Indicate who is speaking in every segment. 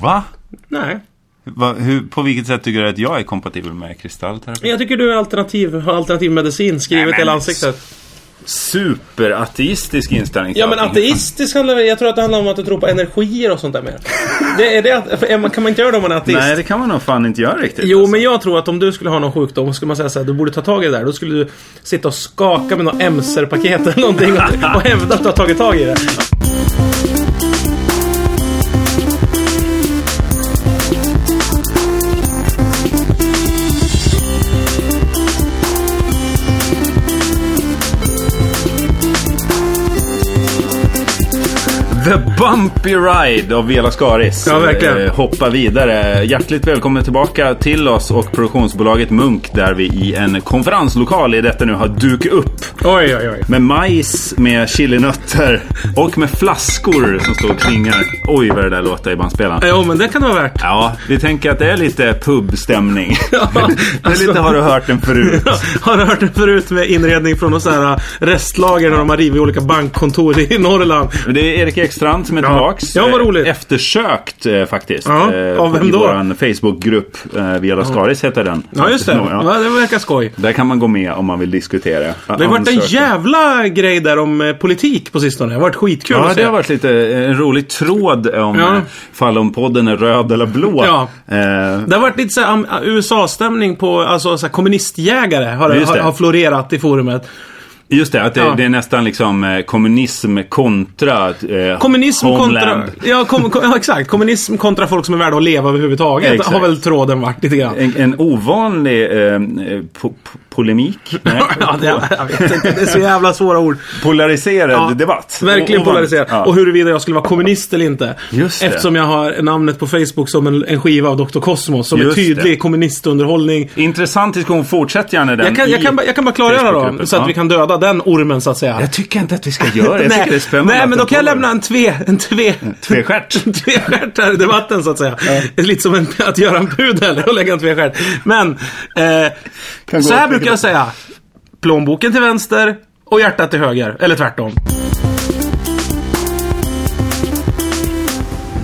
Speaker 1: Va?
Speaker 2: Nej.
Speaker 1: Va hur, på vilket sätt tycker du att jag är kompatibel med kristallterapi?
Speaker 2: Jag tycker du är alternativ, har alternativ medicin
Speaker 1: Nej,
Speaker 2: skrivet
Speaker 1: men-
Speaker 2: i hela ansiktet.
Speaker 1: Superateistisk inställning till
Speaker 2: Ja men
Speaker 1: allting.
Speaker 2: ateistisk handlar väl- jag tror att det handlar om att du tror på energier och sånt där mer. Det, är det, att- är man- kan man inte göra det om man är ateist?
Speaker 1: Nej, det kan man nog fan inte göra riktigt.
Speaker 2: Jo,
Speaker 1: alltså.
Speaker 2: men jag tror att om du skulle ha någon sjukdom så skulle man säga såhär, du borde ta tag i det där. Då skulle du sitta och skaka med något emser-paket eller någonting och, och hävda att du har tagit tag i det.
Speaker 1: The Bumpy Ride av Vela Skaris.
Speaker 2: Ja, verkligen.
Speaker 1: Eh, Hoppa vidare. Hjärtligt välkommen tillbaka till oss och produktionsbolaget Munk där vi i en konferenslokal i detta nu har dukat upp
Speaker 2: Oj, oj, oj.
Speaker 1: med majs, med chilinötter och med flaskor som står och klingar. Oj, vad det där låter i bandspelaren.
Speaker 2: Jo, men det kan det vara värt.
Speaker 1: Ja, vi tänker att det är lite pubstämning.
Speaker 2: Ja,
Speaker 1: det är
Speaker 2: Alltså.
Speaker 1: lite har du hört den förut.
Speaker 2: Har du hört det förut med inredning från någon sån här äh, restlager när de har rivit olika bankkontor i Norrland?
Speaker 1: Men Det är Erik Ekstrand som är
Speaker 2: Ja.
Speaker 1: tillbaks.
Speaker 2: Ja, vad
Speaker 1: Eh,
Speaker 2: roligt.
Speaker 1: Eftersökt eh, faktiskt.
Speaker 2: Ja,
Speaker 1: Eh,
Speaker 2: av vem
Speaker 1: I
Speaker 2: då?
Speaker 1: vår Facebookgrupp. Eh, Via Lascaris heter den.
Speaker 2: Ja, just det.
Speaker 1: Ja.
Speaker 2: Va, Det verkar skoj.
Speaker 1: Där kan man gå med om man vill diskutera.
Speaker 2: Det har varit en jävla grej där om eh, politik på sistone. Det har varit skitkul
Speaker 1: Ja,
Speaker 2: att se.
Speaker 1: det har varit lite eh, en rolig tråd om
Speaker 2: Ja.
Speaker 1: ja. fall om podden är röd eller blå.
Speaker 2: Ja.
Speaker 1: Eh,
Speaker 2: Det har varit lite så här, am- eh, USA-stämning på, alltså så här, kommunistjägare har,
Speaker 1: Just
Speaker 2: har,
Speaker 1: det.
Speaker 2: har florerat i forumet.
Speaker 1: Just det, att det,
Speaker 2: Ja.
Speaker 1: det är nästan liksom eh, kommunism kontra eh,
Speaker 2: Kommunism
Speaker 1: homeland.
Speaker 2: kontra... Ja, kom, kom, ja, exakt. Kommunism kontra folk som är värda att leva överhuvudtaget.
Speaker 1: Exakt.
Speaker 2: Har väl tråden varit lite grann.
Speaker 1: En, en ovanlig eh, po po polemik. Nej.
Speaker 2: Ja, det, jag vet inte. Det är så jävla svåra ord.
Speaker 1: Polariserad
Speaker 2: Ja,
Speaker 1: debatt.
Speaker 2: Verkligen
Speaker 1: O- ovanligt.
Speaker 2: polariserat.
Speaker 1: Ja.
Speaker 2: Och huruvida jag skulle vara kommunist eller inte.
Speaker 1: Just det.
Speaker 2: Eftersom jag har namnet på Facebook som en, en skiva av Dr. Cosmos. Som
Speaker 1: Just
Speaker 2: är tydlig
Speaker 1: det.
Speaker 2: kommunistunderhållning.
Speaker 1: Intressant diskussion. Fortsätt gärna den
Speaker 2: Jag kan, jag,
Speaker 1: i
Speaker 2: kan, bara- jag kan bara klargöra då,
Speaker 1: Facebookgruppen.
Speaker 2: så att
Speaker 1: Ja.
Speaker 2: vi kan döda den ormen så att säga.
Speaker 1: Jag tycker inte att vi ska göra det. Jag tycker det är spännande.
Speaker 2: Nej,
Speaker 1: att
Speaker 2: men då
Speaker 1: den
Speaker 2: kan jag
Speaker 1: pågår.
Speaker 2: lämna en tve... En tve...
Speaker 1: Tvestjärt.
Speaker 2: en tvestjärt här i debatten så att säga. Det är Lite som en, att göra en pudel och lägga en tvestjärt. Men, eh,
Speaker 1: Kan
Speaker 2: så
Speaker 1: gå-
Speaker 2: här brukar jag säga. Plånboken till vänster och hjärtat till höger. Eller tvärtom.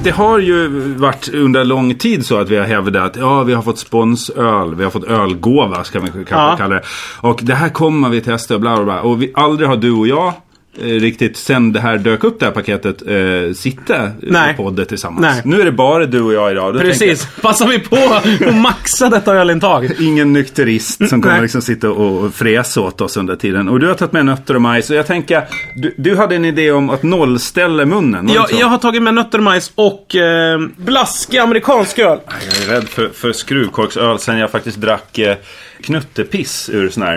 Speaker 1: Det har ju varit under lång tid så att vi har hävdat att ja, vi har fått sponsöl, vi har fått ölgåva ska vi kanske
Speaker 2: Ja.
Speaker 1: kalla det. Och det här kommer vi testa och bla bla bla. Och vi, aldrig har du och jag eh, riktigt sen det här dök upp det här paketet eh, sitta
Speaker 2: Nej.
Speaker 1: i podden tillsammans.
Speaker 2: Nej.
Speaker 1: Nu är det bara du och jag idag. Då tänker
Speaker 2: Precis. Passar vi på att maxa detta ölintag.
Speaker 1: jag, Ingen nykterist som kommer
Speaker 2: Nej.
Speaker 1: liksom sitta och och fräsa åt oss under tiden. Och du har tagit med nötter och majs. Och jag tänker, du, du hade en idé om att nollställa munnen. var det
Speaker 2: Jag,
Speaker 1: så?
Speaker 2: jag har tagit med nötter, majs och eh, blaskig amerikansk öl.
Speaker 1: Jag är rädd för, för skruvkorksöl sen jag faktiskt drack eh, knuttepiss ur sån här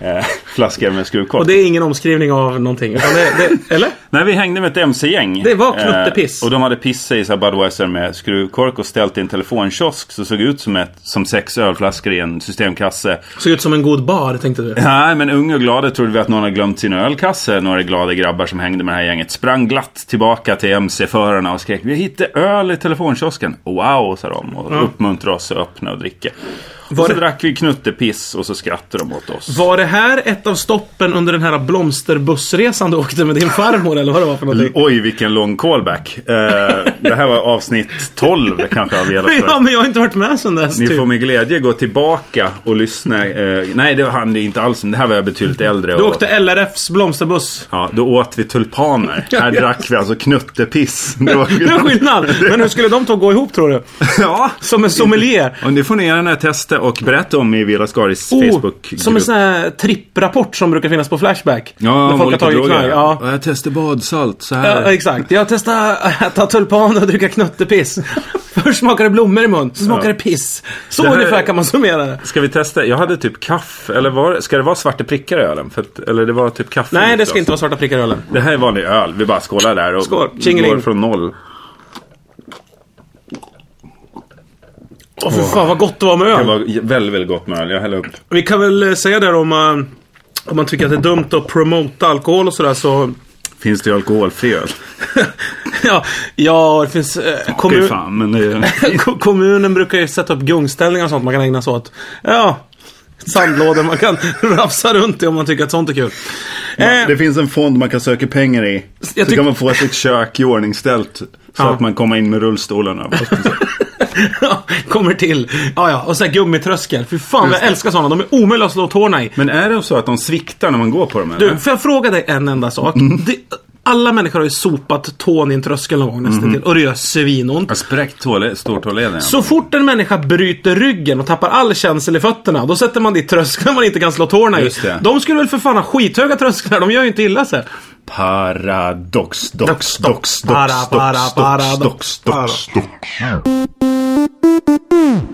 Speaker 1: eh, flaska med skruvkork.
Speaker 2: Och det är ingen omskrivning av någonting. Utan det, det, eller?
Speaker 1: Nej, vi hängde med ett mc-gäng. Eh,
Speaker 2: Det var knuttepiss.
Speaker 1: och de hade pissat i så här Budweiser med skruvkork och ställt i en telefonkiosk som såg ut som, ett, som sex ölflaskor i en systemkasse.
Speaker 2: Såg ut som en god bar, tänkte du.
Speaker 1: Nej, men unga och glada trodde vi att någon hade glömt sin ölkasse. Några glada grabbar som hängde med det här gänget sprang glatt tillbaka till mc-förarna och skrek Vi hittade öl i telefonkiosken. Wow, sa de och uppmuntrade oss att öppna och dricka.
Speaker 2: Var
Speaker 1: och så
Speaker 2: det-
Speaker 1: drack vi knuttepiss och så skrattade de åt oss.
Speaker 2: Var det här ett av stoppen under den här blomsterbussresan du åkte med din farmor eller vad det var för någonting?
Speaker 1: Oj, vilken lång callback. Eh, det här var avsnitt 12 kanske av hela
Speaker 2: Ja, men jag har inte varit med sen dess.
Speaker 1: Ni
Speaker 2: typ.
Speaker 1: får med glädje gå tillbaka och lyssna. Eh, nej, det hann det inte alls. Det här var jag betydligt äldre.
Speaker 2: Du
Speaker 1: och-
Speaker 2: åkte LRFs blomsterbuss.
Speaker 1: Ja, då åt vi tulpaner. Här drack vi alltså knuttepiss. Det var
Speaker 2: Det var skillnad. Men hur skulle de två gå ihop tror du?
Speaker 1: ja.
Speaker 2: Som en sommelier. Oh,
Speaker 1: Och det får ni gärna testa och berätta om i Villa Skaris Facebookgrupp.
Speaker 2: som en sån här tripprapport som brukar finnas på Flashback.
Speaker 1: Ja,
Speaker 2: när
Speaker 1: om
Speaker 2: folk har
Speaker 1: olika
Speaker 2: tagit knark.
Speaker 1: droger.
Speaker 2: Ja.
Speaker 1: Och jag testade badsalt så här.
Speaker 2: Ja, exakt. Jag testade att äta tulpan och dricka knuttepiss. Först smakar det blommor i mun, så smakar det piss. Så
Speaker 1: Det här-
Speaker 2: ungefär kan man summera det.
Speaker 1: Ska vi testa? Jag hade typ kaffe, eller var, ska det vara svarta prickar i ölen? För att, eller det var typ kaffe.
Speaker 2: Nej,
Speaker 1: lite
Speaker 2: det ska
Speaker 1: också.
Speaker 2: inte vara svarta prickar i ölen.
Speaker 1: Det här är vanlig öl. Vi bara skålar där och
Speaker 2: Skål.
Speaker 1: går
Speaker 2: Tjingeling.
Speaker 1: från noll.
Speaker 2: Åh, för fan vad gott det var med
Speaker 1: Det
Speaker 2: öl.
Speaker 1: var j- väldigt, väldigt gott med öl. Jag häller upp.
Speaker 2: Vi kan väl eh, säga där om man, om man tycker att det är dumt att promota alkohol och sådär så...
Speaker 1: Finns det ju alkoholfri öl?
Speaker 2: ja, ja, det finns... Eh, kommun-
Speaker 1: Fy fan, men det är...
Speaker 2: Ko- kommunen brukar ju sätta upp gungställningar och sånt man kan ägna sig åt. Ja, sandlådor man kan rafsa runt i om man tycker att sånt är kul. Eh,
Speaker 1: Det finns en fond man kan söka pengar i.
Speaker 2: jag
Speaker 1: så
Speaker 2: tyck-
Speaker 1: kan man få ett litet kök i ordningställt. Så
Speaker 2: Ja.
Speaker 1: att man kommer in med rullstolen överallt.
Speaker 2: Kommer till. Ja, ja. Och så här gummitröskel. Fy fan, jag älskar sådana. De är omöjliga att slå tårna i.
Speaker 1: Men är det så att de sviktar när man går på dem? Eller?
Speaker 2: Du, får jag fråga dig en enda sak?
Speaker 1: Mm.
Speaker 2: Det, alla människor har ju sopat tån i en tröskel någon gång
Speaker 1: Mm.
Speaker 2: nästan till. Och det gör svinont.
Speaker 1: Jag spräckt tåle, stortåleden.
Speaker 2: Så fort en människa bryter ryggen och tappar all känsel i fötterna, då sätter man dit trösklar man inte kan slå tårna i.
Speaker 1: Just det.
Speaker 2: De skulle väl för fan ha skithöga trösklar, de gör ju inte illa sig.
Speaker 1: Paradox, dox, dox, dox,
Speaker 2: Para,
Speaker 1: dox,
Speaker 2: para,
Speaker 1: dox,
Speaker 2: para,
Speaker 1: dox, dox,
Speaker 2: para.
Speaker 1: dox, dox.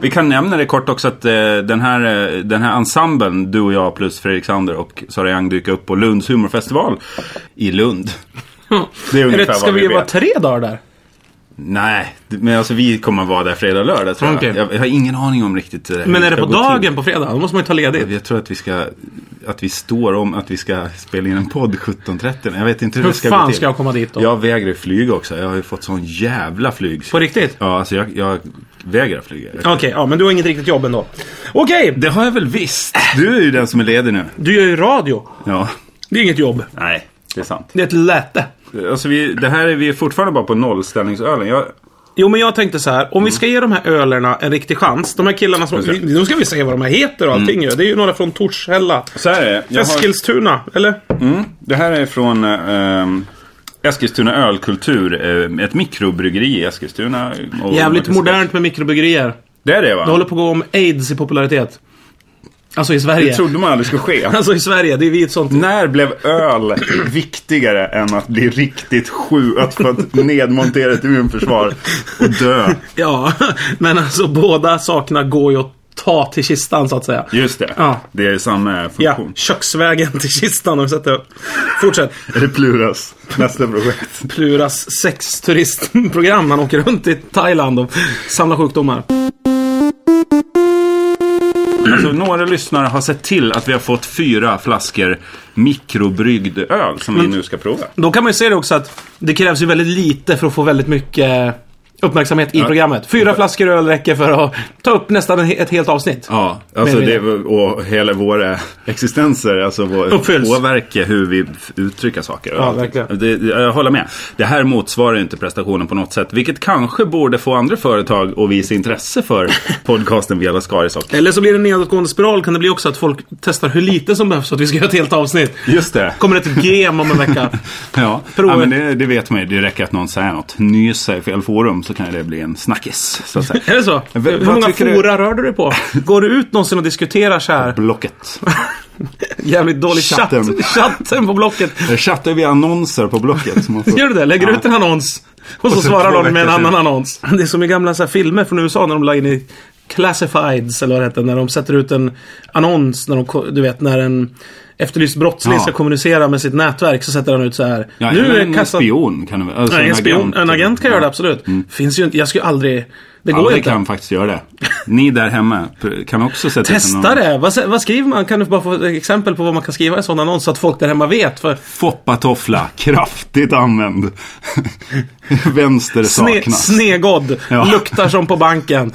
Speaker 1: Vi kan nämna det kort också att eh, den, här, eh, den här ensemblen, du och jag plus Fredrik Sander och Sara Young dyker upp på Lunds humorfestival i Lund. Det är ungefär
Speaker 2: Eller ska
Speaker 1: vad vi
Speaker 2: vi vara
Speaker 1: vet.
Speaker 2: tre dagar där?
Speaker 1: Nej, men alltså vi kommer vara där fredag, lördag tror jag.
Speaker 2: Okej.
Speaker 1: Jag, jag har ingen aning om riktigt eh, hur
Speaker 2: Men är
Speaker 1: ska
Speaker 2: det på
Speaker 1: gå till.
Speaker 2: dagen på fredag? Då måste man ju ta ledigt.
Speaker 1: Jag tror att vi ska, att vi står om att vi ska spela in en podd 17.30. Jag vet inte hur,
Speaker 2: Hur
Speaker 1: det ska gå
Speaker 2: fan
Speaker 1: till.
Speaker 2: ska jag komma dit då?
Speaker 1: Jag vägrar ju flyga också. Jag har ju fått sån jävla flyg.
Speaker 2: På riktigt?
Speaker 1: Ja, alltså jag, jag vägrar flyga.
Speaker 2: Okej, ja men du har inget riktigt jobb ändå. Okej,
Speaker 1: Det har jag väl visst. Du är ju den som är ledig nu.
Speaker 2: du gör ju radio.
Speaker 1: Ja.
Speaker 2: Det är inget jobb.
Speaker 1: Nej, det är sant.
Speaker 2: Det är ett läte.
Speaker 1: Alltså vi, det här är, vi är fortfarande bara på nollställningsölen. Jag,
Speaker 2: Jo men jag tänkte så här, om vi ska ge de här ölerna en riktig chans. De här killarna som...
Speaker 1: Just det.
Speaker 2: Nu Mm. ska vi se Mm. vad de här heter och allting ju. Det är ju några från Torshälla.
Speaker 1: så här är det. Jag har,
Speaker 2: Eskilstuna, eller?
Speaker 1: mm, det här är från eh, ehm, Eskilstuna Ölkultur. eh, ett mikrobryggeri i Eskilstuna. Och-
Speaker 2: Jävligt modernt med mikrobryggerier.
Speaker 1: Det är det va?
Speaker 2: Det håller på att gå om aids i popularitet. Alltså i Sverige.
Speaker 1: Det trodde man aldrig skulle ske.
Speaker 2: Alltså i Sverige, det är vi ett sånt...
Speaker 1: När blev öl viktigare än att bli riktigt sjuk, att få ett nedmonterat immunförsvar och dö?
Speaker 2: Ja, men alltså båda sakerna går ju att ta till kistan så att säga.
Speaker 1: Just det,
Speaker 2: Ja.
Speaker 1: det är samma
Speaker 2: Ja,
Speaker 1: funktion.
Speaker 2: köksvägen till kistan om vi sätter upp. Fortsätt.
Speaker 1: Är det Pluras nästa projekt?
Speaker 2: Pluras sexturistprogram. Han åker runt i Thailand och samlar sjukdomar.
Speaker 1: Alltså, några lyssnare har sett till att vi har fått fyra flaskor mikrobryggd öl som vi nu ska prova.
Speaker 2: Då kan man ju se det också att det krävs ju väldigt lite för att få väldigt mycket uppmärksamhet i programmet. Fyra flaskor öl räcker för att ta upp nästan en- ett helt avsnitt.
Speaker 1: Ja, alltså
Speaker 2: Men-
Speaker 1: det, och hela våra existenser, alltså vår
Speaker 2: Uppfylls.
Speaker 1: påverkar hur vi f- uttrycker saker.
Speaker 2: Ja, verkligen.
Speaker 1: Det, det- jag håller med. Det här motsvarar ju inte prestationen på något sätt, vilket kanske borde få andra företag att visa intresse för podcasten Vela Skaris och
Speaker 2: Eller så blir det en nedåtgående spiral kan det bli också att folk testar hur lite som behövs för att vi ska göra ett helt avsnitt.
Speaker 1: Just det.
Speaker 2: Kommer det ett gem om en vecka.
Speaker 1: Ja,
Speaker 2: Provet.
Speaker 1: ja men det, det vet man ju. Det räcker att någon säger något. Nyser i fel forum så kan det bli en snackis. Så att säga.
Speaker 2: Är det så?
Speaker 1: V-
Speaker 2: hur
Speaker 1: vad
Speaker 2: många
Speaker 1: tycker du?
Speaker 2: fora rör du dig på? Går du ut någonsin och diskuterar så här?
Speaker 1: Blocket.
Speaker 2: Jävligt dålig
Speaker 1: Chatten.
Speaker 2: chatt. Chatten på Blocket.
Speaker 1: Jag Eh, chattar via annonser på Blocket. så man får-
Speaker 2: Gör du det? Lägger ut en annons. Och så,
Speaker 1: så två
Speaker 2: svarar någon med en
Speaker 1: veckor
Speaker 2: annan
Speaker 1: senare.
Speaker 2: annons. Det är som i gamla så här filmer från USA när de la in i Classifieds eller vad det heter. När de sätter ut en annons. När de, ko- du vet när en efterlyst brottsling
Speaker 1: Ja.
Speaker 2: ska kommunicera med sitt nätverk så sätter han ut så här.
Speaker 1: Ja,
Speaker 2: nu
Speaker 1: eller
Speaker 2: är
Speaker 1: en
Speaker 2: kassan...
Speaker 1: spion kan det vara. Alltså
Speaker 2: Nej, en, spion, agent, en agent kan göra det
Speaker 1: Ja.
Speaker 2: absolut. Finns ju inte. Jag skulle aldrig... Det går
Speaker 1: Alla
Speaker 2: ju inte.
Speaker 1: Mm. kan faktiskt göra det. Ni där hemma pr- kan också sätta ut en
Speaker 2: Testa
Speaker 1: annons.
Speaker 2: det! Vad, sä- vad skriver man? Kan du bara få ett exempel på vad man kan skriva i en sån annons så att folk där hemma vet? För
Speaker 1: Foppatoffla, kraftigt använd. Vänster
Speaker 2: sne,
Speaker 1: saknas.
Speaker 2: snegodd,
Speaker 1: Ja.
Speaker 2: luktar som på banken.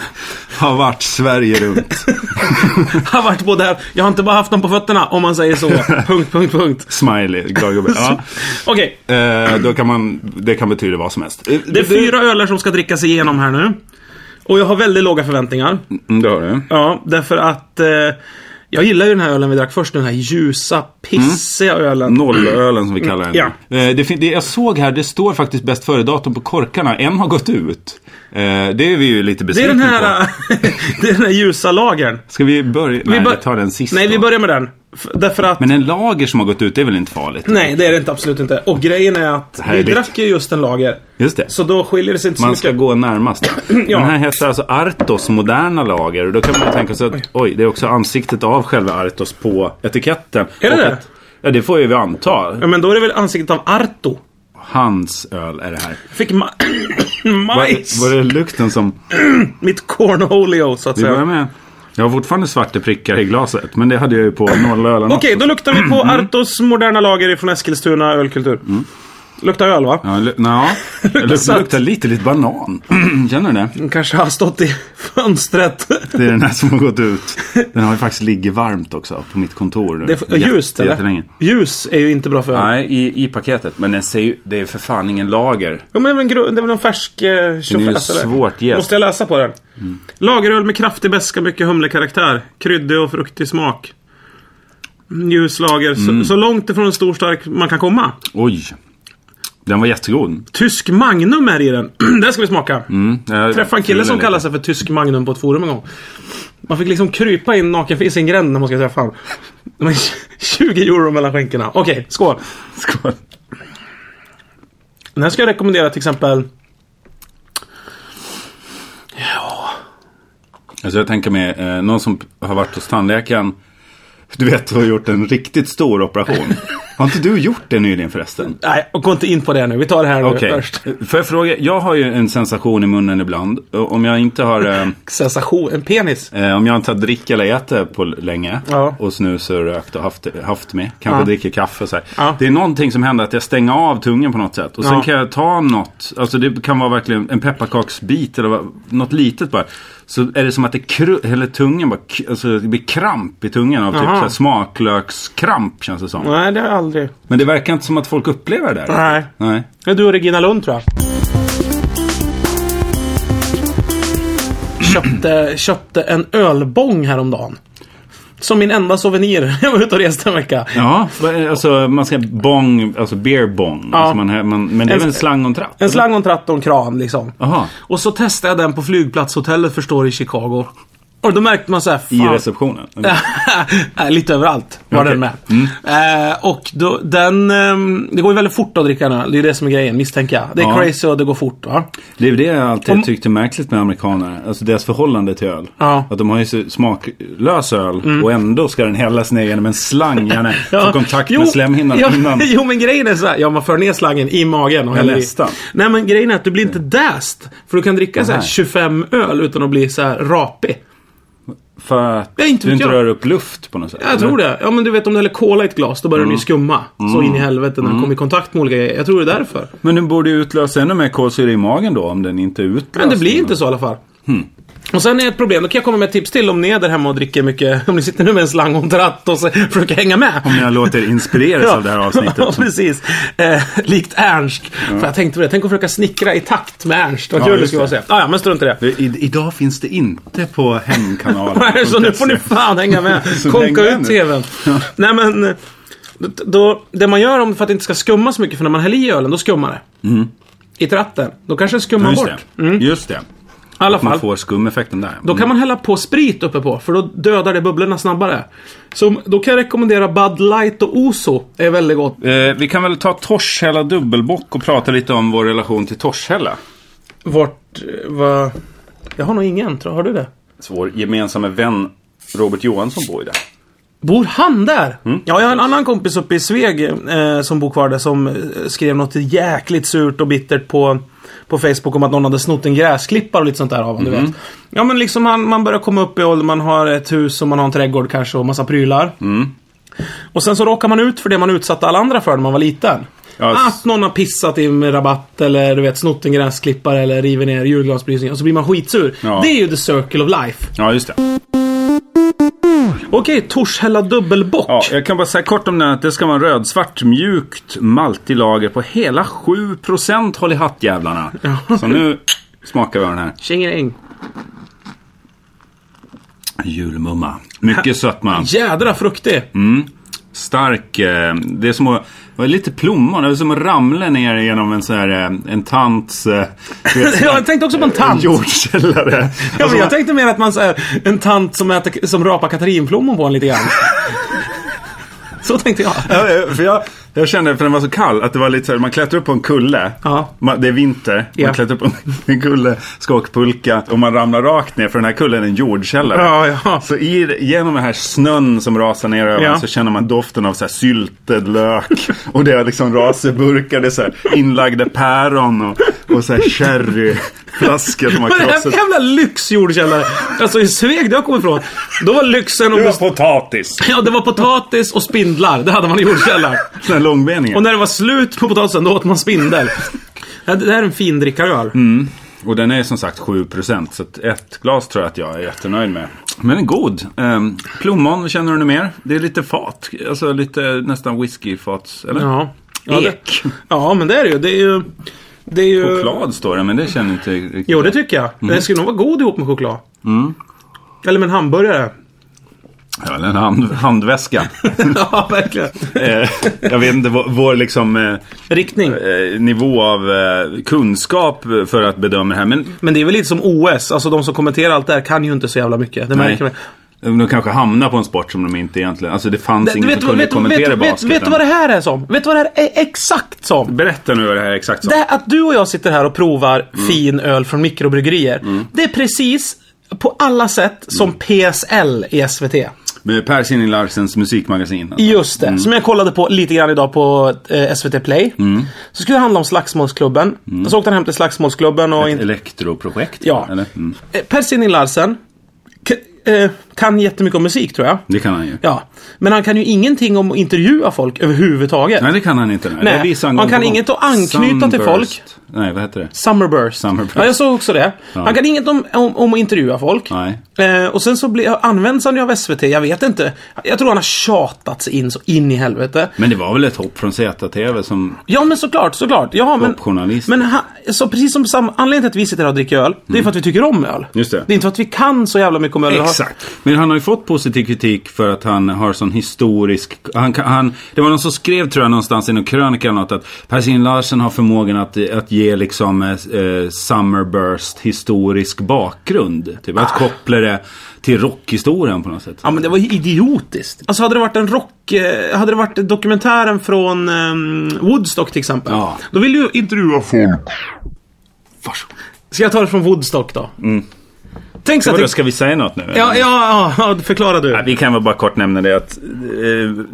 Speaker 1: Har varit Sverige runt.
Speaker 2: Har varit på det här. Jag har inte bara haft dem på fötterna om man säger så. punkt, punkt, punkt.
Speaker 1: Smiley, glad gubbe. Ja.
Speaker 2: Okej,
Speaker 1: Eh, då kan man, det kan betyda vad som helst. Eh,
Speaker 2: det är fyra öler som ska drickas igenom här nu. Och jag har väldigt låga förväntningar.
Speaker 1: Mm, Det har du.
Speaker 2: Ja, därför att eh, jag gillar ju den här ölen vi drack först. Den här ljusa, pissiga
Speaker 1: Mm.
Speaker 2: ölen.
Speaker 1: Nollölen som vi kallar den.
Speaker 2: Ja.
Speaker 1: Eh, det, fin- det, jag såg här, det står faktiskt bäst före-datum på korkarna. En har gått ut. Eh, det är vi ju lite
Speaker 2: Det är
Speaker 1: besvikna
Speaker 2: den
Speaker 1: på.
Speaker 2: här, det är den här ljusa lagern.
Speaker 1: Ska vi börja? Nej,
Speaker 2: bör-
Speaker 1: vi tar den sist
Speaker 2: Nej, vi
Speaker 1: då.
Speaker 2: börjar med den. F- därför att
Speaker 1: Men en lager som har gått ut, det är väl inte farligt?
Speaker 2: Nej, det är det inte, absolut inte. Och grejen är att vi
Speaker 1: Härligt.
Speaker 2: drack ju just en lager.
Speaker 1: Just det.
Speaker 2: Så då skiljer det sig inte så
Speaker 1: Man
Speaker 2: mycket.
Speaker 1: ska gå närmast.
Speaker 2: Ja.
Speaker 1: Den här heter alltså Artos moderna lager. Och då kan man ju tänka sig att oj, det är också ansiktet av själva Artos på etiketten.
Speaker 2: Är det
Speaker 1: Och
Speaker 2: det?
Speaker 1: Att, ja, det får ju vi anta.
Speaker 2: Ja, men då är det väl ansiktet av Arto.
Speaker 1: Hans öl är det här.
Speaker 2: Fick ma- majs!
Speaker 1: Var, var det lukten som...
Speaker 2: Mitt cornholio, så att
Speaker 1: Vi
Speaker 2: säga.
Speaker 1: börjar
Speaker 2: Okej,
Speaker 1: med... Jag har fortfarande svarta prickar i glaset, men det hade jag ju på nollölen också.
Speaker 2: då luktar vi på Artos moderna lager från Eskilstuna ölkultur. luktar öl va?
Speaker 1: Mm. Ja, lu- nja. det luktar,
Speaker 2: Sött.
Speaker 1: luktar lite, lite banan. Känner du det?
Speaker 2: Den kanske har stått i fönstret.
Speaker 1: Det är den här som har gått ut. Den har ju faktiskt ligger varmt också på mitt kontor nu.
Speaker 2: Det är f- ljust
Speaker 1: Jätte-
Speaker 2: eller?
Speaker 1: Jättelänge.
Speaker 2: Ljus är ju inte bra för öl.
Speaker 1: Nej, i, i paketet. Men den ser ju, det är för fan ingen lager.
Speaker 2: Jo, men det är väl en gru- det är väl en färsk eh, tjofräs? eller?
Speaker 1: svårt jäst. Mm.
Speaker 2: Måste jag läsa på den? Lageröl med kraftig beska, mycket humlekaraktär. Kryddig och fruktig smak. Ljus lager.
Speaker 1: Mm.
Speaker 2: Så, så långt ifrån en stor stark man kan komma.
Speaker 1: Oj. Den var jättegod.
Speaker 2: Tysk Magnum är i den. den ska vi smaka.
Speaker 1: Mm. Jag
Speaker 2: Träffade en kille
Speaker 1: fyller
Speaker 2: som
Speaker 1: lite.
Speaker 2: kallade sig för Tysk Magnum på ett forum en gång. Man fick liksom krypa in naken i sin gränd när man ska träffa honom. Det var 20 euro mellan skänkorna. Okej, skål.
Speaker 1: Skål.
Speaker 2: Den här ska jag rekommendera till exempel... Ja...
Speaker 1: Alltså jag tänker mig eh, någon som har varit hos tandläkaren. Du vet, har gjort en riktigt stor operation. Har inte du gjort det nyligen förresten?
Speaker 2: Nej, och gå inte in på det nu. Vi tar det här nu
Speaker 1: Okej.
Speaker 2: först.
Speaker 1: Får jag fråga? Jag har ju en sensation i munnen ibland. Och Om jag inte har... Eh,
Speaker 2: Sensation. En penis.
Speaker 1: Eh, om jag inte har drick eller ätit på länge
Speaker 2: Ja.
Speaker 1: och snus och rökt och haft, haft med. Kanske
Speaker 2: Ja.
Speaker 1: dricker kaffe så här.
Speaker 2: Ja.
Speaker 1: Det är någonting som händer att jag stänger av tungan på något sätt. Och sen
Speaker 2: Ja.
Speaker 1: kan jag ta något. Alltså det kan vara verkligen en pepparkaksbit eller vad- något litet bara. Så är det som att det kru- eller tungan bara, k- alltså det blir kramp i tungan av typ
Speaker 2: Aha.
Speaker 1: så här smaklökskramp känns det som.
Speaker 2: Nej, det har jag aldrig.
Speaker 1: Men det verkar inte som att folk upplever det där.
Speaker 2: Nej.
Speaker 1: Nej.
Speaker 2: Det är du och Regina Lund tror jag. Köpte, köpte en ölbong häromdagen. Som min enda souvenir. Jag var ute och reste en vecka.
Speaker 1: Ja, alltså man ska bong, alltså beer bong.
Speaker 2: Ja.
Speaker 1: Alltså man, man, men det är
Speaker 2: En-
Speaker 1: väl en slang och en tratt?
Speaker 2: En slang och en tratt och en kran liksom.
Speaker 1: Jaha,
Speaker 2: Och så testade jag den på flygplatshotellet förstår du, i Chicago. Och då märkte man så här,
Speaker 1: i
Speaker 2: fan.
Speaker 1: receptionen.
Speaker 2: Nej, Lite överallt var
Speaker 1: Okej. Mm.
Speaker 2: den med. Eh, och då, den, ehm, det går ju väldigt fort att dricka den här. Det är det som är grejen misstänker jag. Det är
Speaker 1: Ja.
Speaker 2: crazy och det går fort va?
Speaker 1: Det är ju det jag alltid
Speaker 2: Om-
Speaker 1: tyckte är märkligt med amerikaner. Alltså deras förhållande till öl.
Speaker 2: Ja. Mm.
Speaker 1: Att de har ju så smaklös öl och ändå ska den hällas ner genom en slang. Gärna få kontakt med slemhinnan
Speaker 2: jo,
Speaker 1: innan.
Speaker 2: Jo, men grejen är så här. Ja, man för ner slangen i magen och
Speaker 1: Ja,
Speaker 2: häller i.
Speaker 1: nästan. Mm.
Speaker 2: Nej, men grejen är att du blir inte däst. För du kan dricka så här
Speaker 1: Nej.
Speaker 2: 25 öl utan att bli så här rapig.
Speaker 1: För att
Speaker 2: Ja, inte
Speaker 1: du
Speaker 2: vet
Speaker 1: inte
Speaker 2: jag.
Speaker 1: rör upp luft på något sätt.
Speaker 2: Jag tror det. Ja, men du vet om du häller cola i ett glas, då börjar
Speaker 1: Mm.
Speaker 2: den ju skumma. Så in i helvete när den kommer i kontakt med olika grejer. Jag tror det är därför.
Speaker 1: Men den borde ju utlösa ännu mer kolsyra i magen då om den inte utlöser.
Speaker 2: Men det blir inte så i alla fall.
Speaker 1: Hmm.
Speaker 2: Och sen är ett problem, då kan jag komma med ett tips till om ni är där hemma och dricker mycket. Om ni sitter nu med en slang och en tratt och så försöker hänga med.
Speaker 1: Om jag låter inspireras av det här
Speaker 2: Ja,
Speaker 1: avsnittet.
Speaker 2: precis. Eh, likt Ernst. För jag tänkte på det. Tänk att försöka snickra i takt med Ernst. Vad
Speaker 1: Ja,
Speaker 2: kul det
Speaker 1: just
Speaker 2: skulle vara
Speaker 1: det.
Speaker 2: att se. Ah, ja, men strunt i det.
Speaker 1: I, idag finns det inte på hemkanalen.
Speaker 2: Nej, så nu får ni fan hänga med.
Speaker 1: Så häng
Speaker 2: Konka
Speaker 1: med
Speaker 2: ut
Speaker 1: nu.
Speaker 2: TVn. Nej men. eh, d- Då, det man gör om för att det inte ska skumma så mycket, för när man häller i ölen, då skummar det. I tratten. Då kanske det skummar
Speaker 1: Mm. Just
Speaker 2: bort.
Speaker 1: det. Just det.
Speaker 2: Mm. I alla fall.
Speaker 1: Man får Mm. skumeffekten där.
Speaker 2: Då kan man hälla på sprit uppe på för då dödar det bubblorna snabbare. Så då kan jag rekommendera Bud Light och Ozo. är väldigt gott.
Speaker 1: Eh, vi kan väl ta Torshälla dubbelbock och prata lite om vår relation till Torshälla.
Speaker 2: Vart, eh, va... Jag har nog ingen, tror jag. Har du det?
Speaker 1: Så Vår gemensamma vän Robert Johansson bor ju där.
Speaker 2: Bor han där?
Speaker 1: Mm.
Speaker 2: Ja, jag har en annan kompis uppe i Sveg eh, som bor kvar där som eh, skrev något jäkligt surt och bittert på, på Facebook om att någon hade snott en gräsklippare och lite sånt där av honom, du
Speaker 1: Mm.
Speaker 2: vet. Ja, men liksom man, man börjar komma upp i ålder, man har ett hus och man har en trädgård kanske och massa prylar.
Speaker 1: Mm.
Speaker 2: Och sen så råkar man ut för det man utsatte alla andra för när man var liten.
Speaker 1: Ja, s-
Speaker 2: Att någon har pissat i en rabatt eller du vet snott en gräsklippare eller river ner julgransbelysningen och så blir man skitsur.
Speaker 1: Ja.
Speaker 2: Det är ju the circle of life.
Speaker 1: Ja, just det.
Speaker 2: Okej, Torshälla dubbelbock.
Speaker 1: Ja, jag kan bara säga kort om den här att det ska vara en rödsvart mjukt maltig lager på hela 7% håll i hattjävlarna. Så nu smakar vi av den här.
Speaker 2: Tjingeling.
Speaker 1: Julmumma. Mycket sötma.
Speaker 2: Jädra fruktig.
Speaker 1: Mm. Stark. eh, Det är som att, det är lite plommon. Det är som att ramla ner genom en sån här, eh, en tants... eh, du vet,
Speaker 2: Ja, jag tänkte också på en tant.
Speaker 1: Jordkällare.
Speaker 2: Ja,
Speaker 1: Alltså,
Speaker 2: men jag tänkte mer att man så här, en tant som, äter, som rapar katarinplommon på en lite grann. Så tänkte jag.
Speaker 1: Ja, eh, för jag, jag kände, för den var så kall, att det var lite så här, man klättrar upp på en kulle.
Speaker 2: Ja.
Speaker 1: Man, det är vinter,
Speaker 2: Ja.
Speaker 1: man klättrar upp på en kulle, ska åka pulka och man ramlar rakt ner för den här kullen är en jordkällare.
Speaker 2: Ja, ja.
Speaker 1: Så i, genom den här snön som rasar ner över
Speaker 2: Ja.
Speaker 1: så känner man doften av så här syltad lök och det är liksom raserburkar, det är så här inlagda päron och Och så här sherryflaskor som har
Speaker 2: Men den här
Speaker 1: krossats.
Speaker 2: jävla lyxgjord källare. Alltså i Sveg, där jag kommer ifrån. Då var lyxen och...
Speaker 1: Det var potatis.
Speaker 2: Ja, det var potatis och spindlar. Det hade man i jordkällaren.
Speaker 1: Den här långbeningen.
Speaker 2: Och när det var slut på potatisen, då åt man spindel. Ja, Det här är en fin drickaröl.
Speaker 1: Mm. Och den är som sagt 7% så att ett glas tror jag att jag är jättenöjd med. Men den är god. Ehm, plommon, känner du nu mer? Det är lite fat. Alltså lite nästan whiskyfats. Eller?
Speaker 2: Ja. Ja, det,
Speaker 1: Ek.
Speaker 2: ja, men det är det ju. Det är ju... Det är ju...
Speaker 1: Choklad står det, men det känner inte riktigt.
Speaker 2: Jo, det tycker jag.
Speaker 1: Mm.
Speaker 2: Den skulle nog vara god ihop med choklad. Eller med en hamburgare.
Speaker 1: Ja, eller en hand, handväska.
Speaker 2: ja, verkligen.
Speaker 1: Eh, jag vet inte, vår, vår liksom, eh,
Speaker 2: Riktning.
Speaker 1: eh, nivå av eh, kunskap för att bedöma det här. Men
Speaker 2: Men det är väl lite som OS. Alltså de som kommenterar allt det här kan ju inte så jävla mycket. Det märker man.
Speaker 1: de kanske hamnar på en sport som de inte egentligen... Alltså det fanns
Speaker 2: Du
Speaker 1: ingen
Speaker 2: vet,
Speaker 1: som
Speaker 2: du-
Speaker 1: kunde
Speaker 2: vet, du-
Speaker 1: kommentera
Speaker 2: vet, vet,
Speaker 1: basketen.
Speaker 2: vet du vad det här är som? Vet du vad det här är exakt som?
Speaker 1: Berätta nu vad det här är exakt som.
Speaker 2: Det här att du och jag sitter här och provar
Speaker 1: Mm.
Speaker 2: fin öl från mikrobryggerier. Det är precis på alla sätt som
Speaker 1: Mm.
Speaker 2: PSL i SVT.
Speaker 1: Med Per Sinding Larsens musikmagasin. Alltså.
Speaker 2: Just det. Som jag kollade på lite grann idag på eh, SVT Play.
Speaker 1: Mm.
Speaker 2: Så skulle det handla om Slagsmålsklubben. Så åkte han hem till Slagsmålsklubben och...
Speaker 1: Ett
Speaker 2: In...
Speaker 1: elektroprojekt.
Speaker 2: Ja.
Speaker 1: Eller? Mm.
Speaker 2: Eh, Per Sinding Larsen k- eh, kan jättemycket om musik tror jag.
Speaker 1: Det kan han ju.
Speaker 2: Ja. Men han kan ju ingenting om att intervjua folk överhuvudtaget.
Speaker 1: Nej, det kan han inte. Nej.
Speaker 2: Nej,
Speaker 1: Det visar
Speaker 2: man
Speaker 1: gång
Speaker 2: kan
Speaker 1: på gång.
Speaker 2: inget att anknyta till folk.
Speaker 1: Sunburst. Nej, vad heter det?
Speaker 2: Summerburst.
Speaker 1: Summerburst.
Speaker 2: Ja, jag såg också det. Han kan inget om, om, om att intervjua folk.
Speaker 1: Nej.
Speaker 2: Eh, och sen så blir, används han ju av SVT, jag vet inte. Jag tror han har tjatat sig in så in i helvete.
Speaker 1: Men det var väl ett hopp från ZTV som...
Speaker 2: Ja men såklart, såklart. Ja, men,
Speaker 1: Toppjournalist.
Speaker 2: men ha, så precis som sam, anledningen till att vi sitter här och dricker öl, det är för att vi tycker om öl.
Speaker 1: Mm. Just det.
Speaker 2: det är inte för att vi kan så jävla mycket om öl. eller har-
Speaker 1: Men han har ju fått positiv kritik för att han har sån historisk... Han, kan- han, det var någon som skrev, tror jag, någonstans i någon krönika eller något att Per Sinding Larsen har förmågan att, att ge liksom eh, eh, Summerburst historisk bakgrund. Typ
Speaker 2: Ah.
Speaker 1: att koppla det till rockhistorien på något sätt.
Speaker 2: Ja men det var ju idiotiskt. Alltså hade det varit en rock... eh, Hade det varit dokumentären från ehm, Woodstock till exempel.
Speaker 1: Ja.
Speaker 2: Då vill du ju intervjua folk.
Speaker 1: Varsågod. Mm.
Speaker 2: Ska jag ta det från Woodstock då? Tänk så att...
Speaker 1: Vadå,
Speaker 2: det-
Speaker 1: ska vi säga något nu? eller?
Speaker 2: Ja, ja, ja, förklara du.
Speaker 1: Ja, Vi kan väl bara kort nämna det att eh,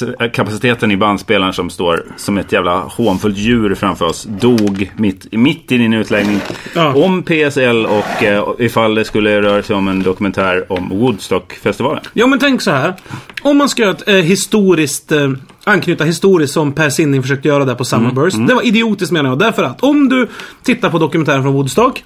Speaker 1: minneskapaciteten i bandspelaren som står som ett jävla hånfullt djur framför oss dog mitt, mitt i din utläggning.
Speaker 2: Ja.
Speaker 1: Om PSL och eh, ifall det skulle röra sig om en dokumentär om Woodstockfestivalen.
Speaker 2: Ja men tänk så här. Om man ska göra ett eh, historiskt eh, Anknyta historiskt som Per Sinding försökte göra där på Summerburst. Det var idiotiskt menar jag. Därför att om du tittar på dokumentären från Woodstock.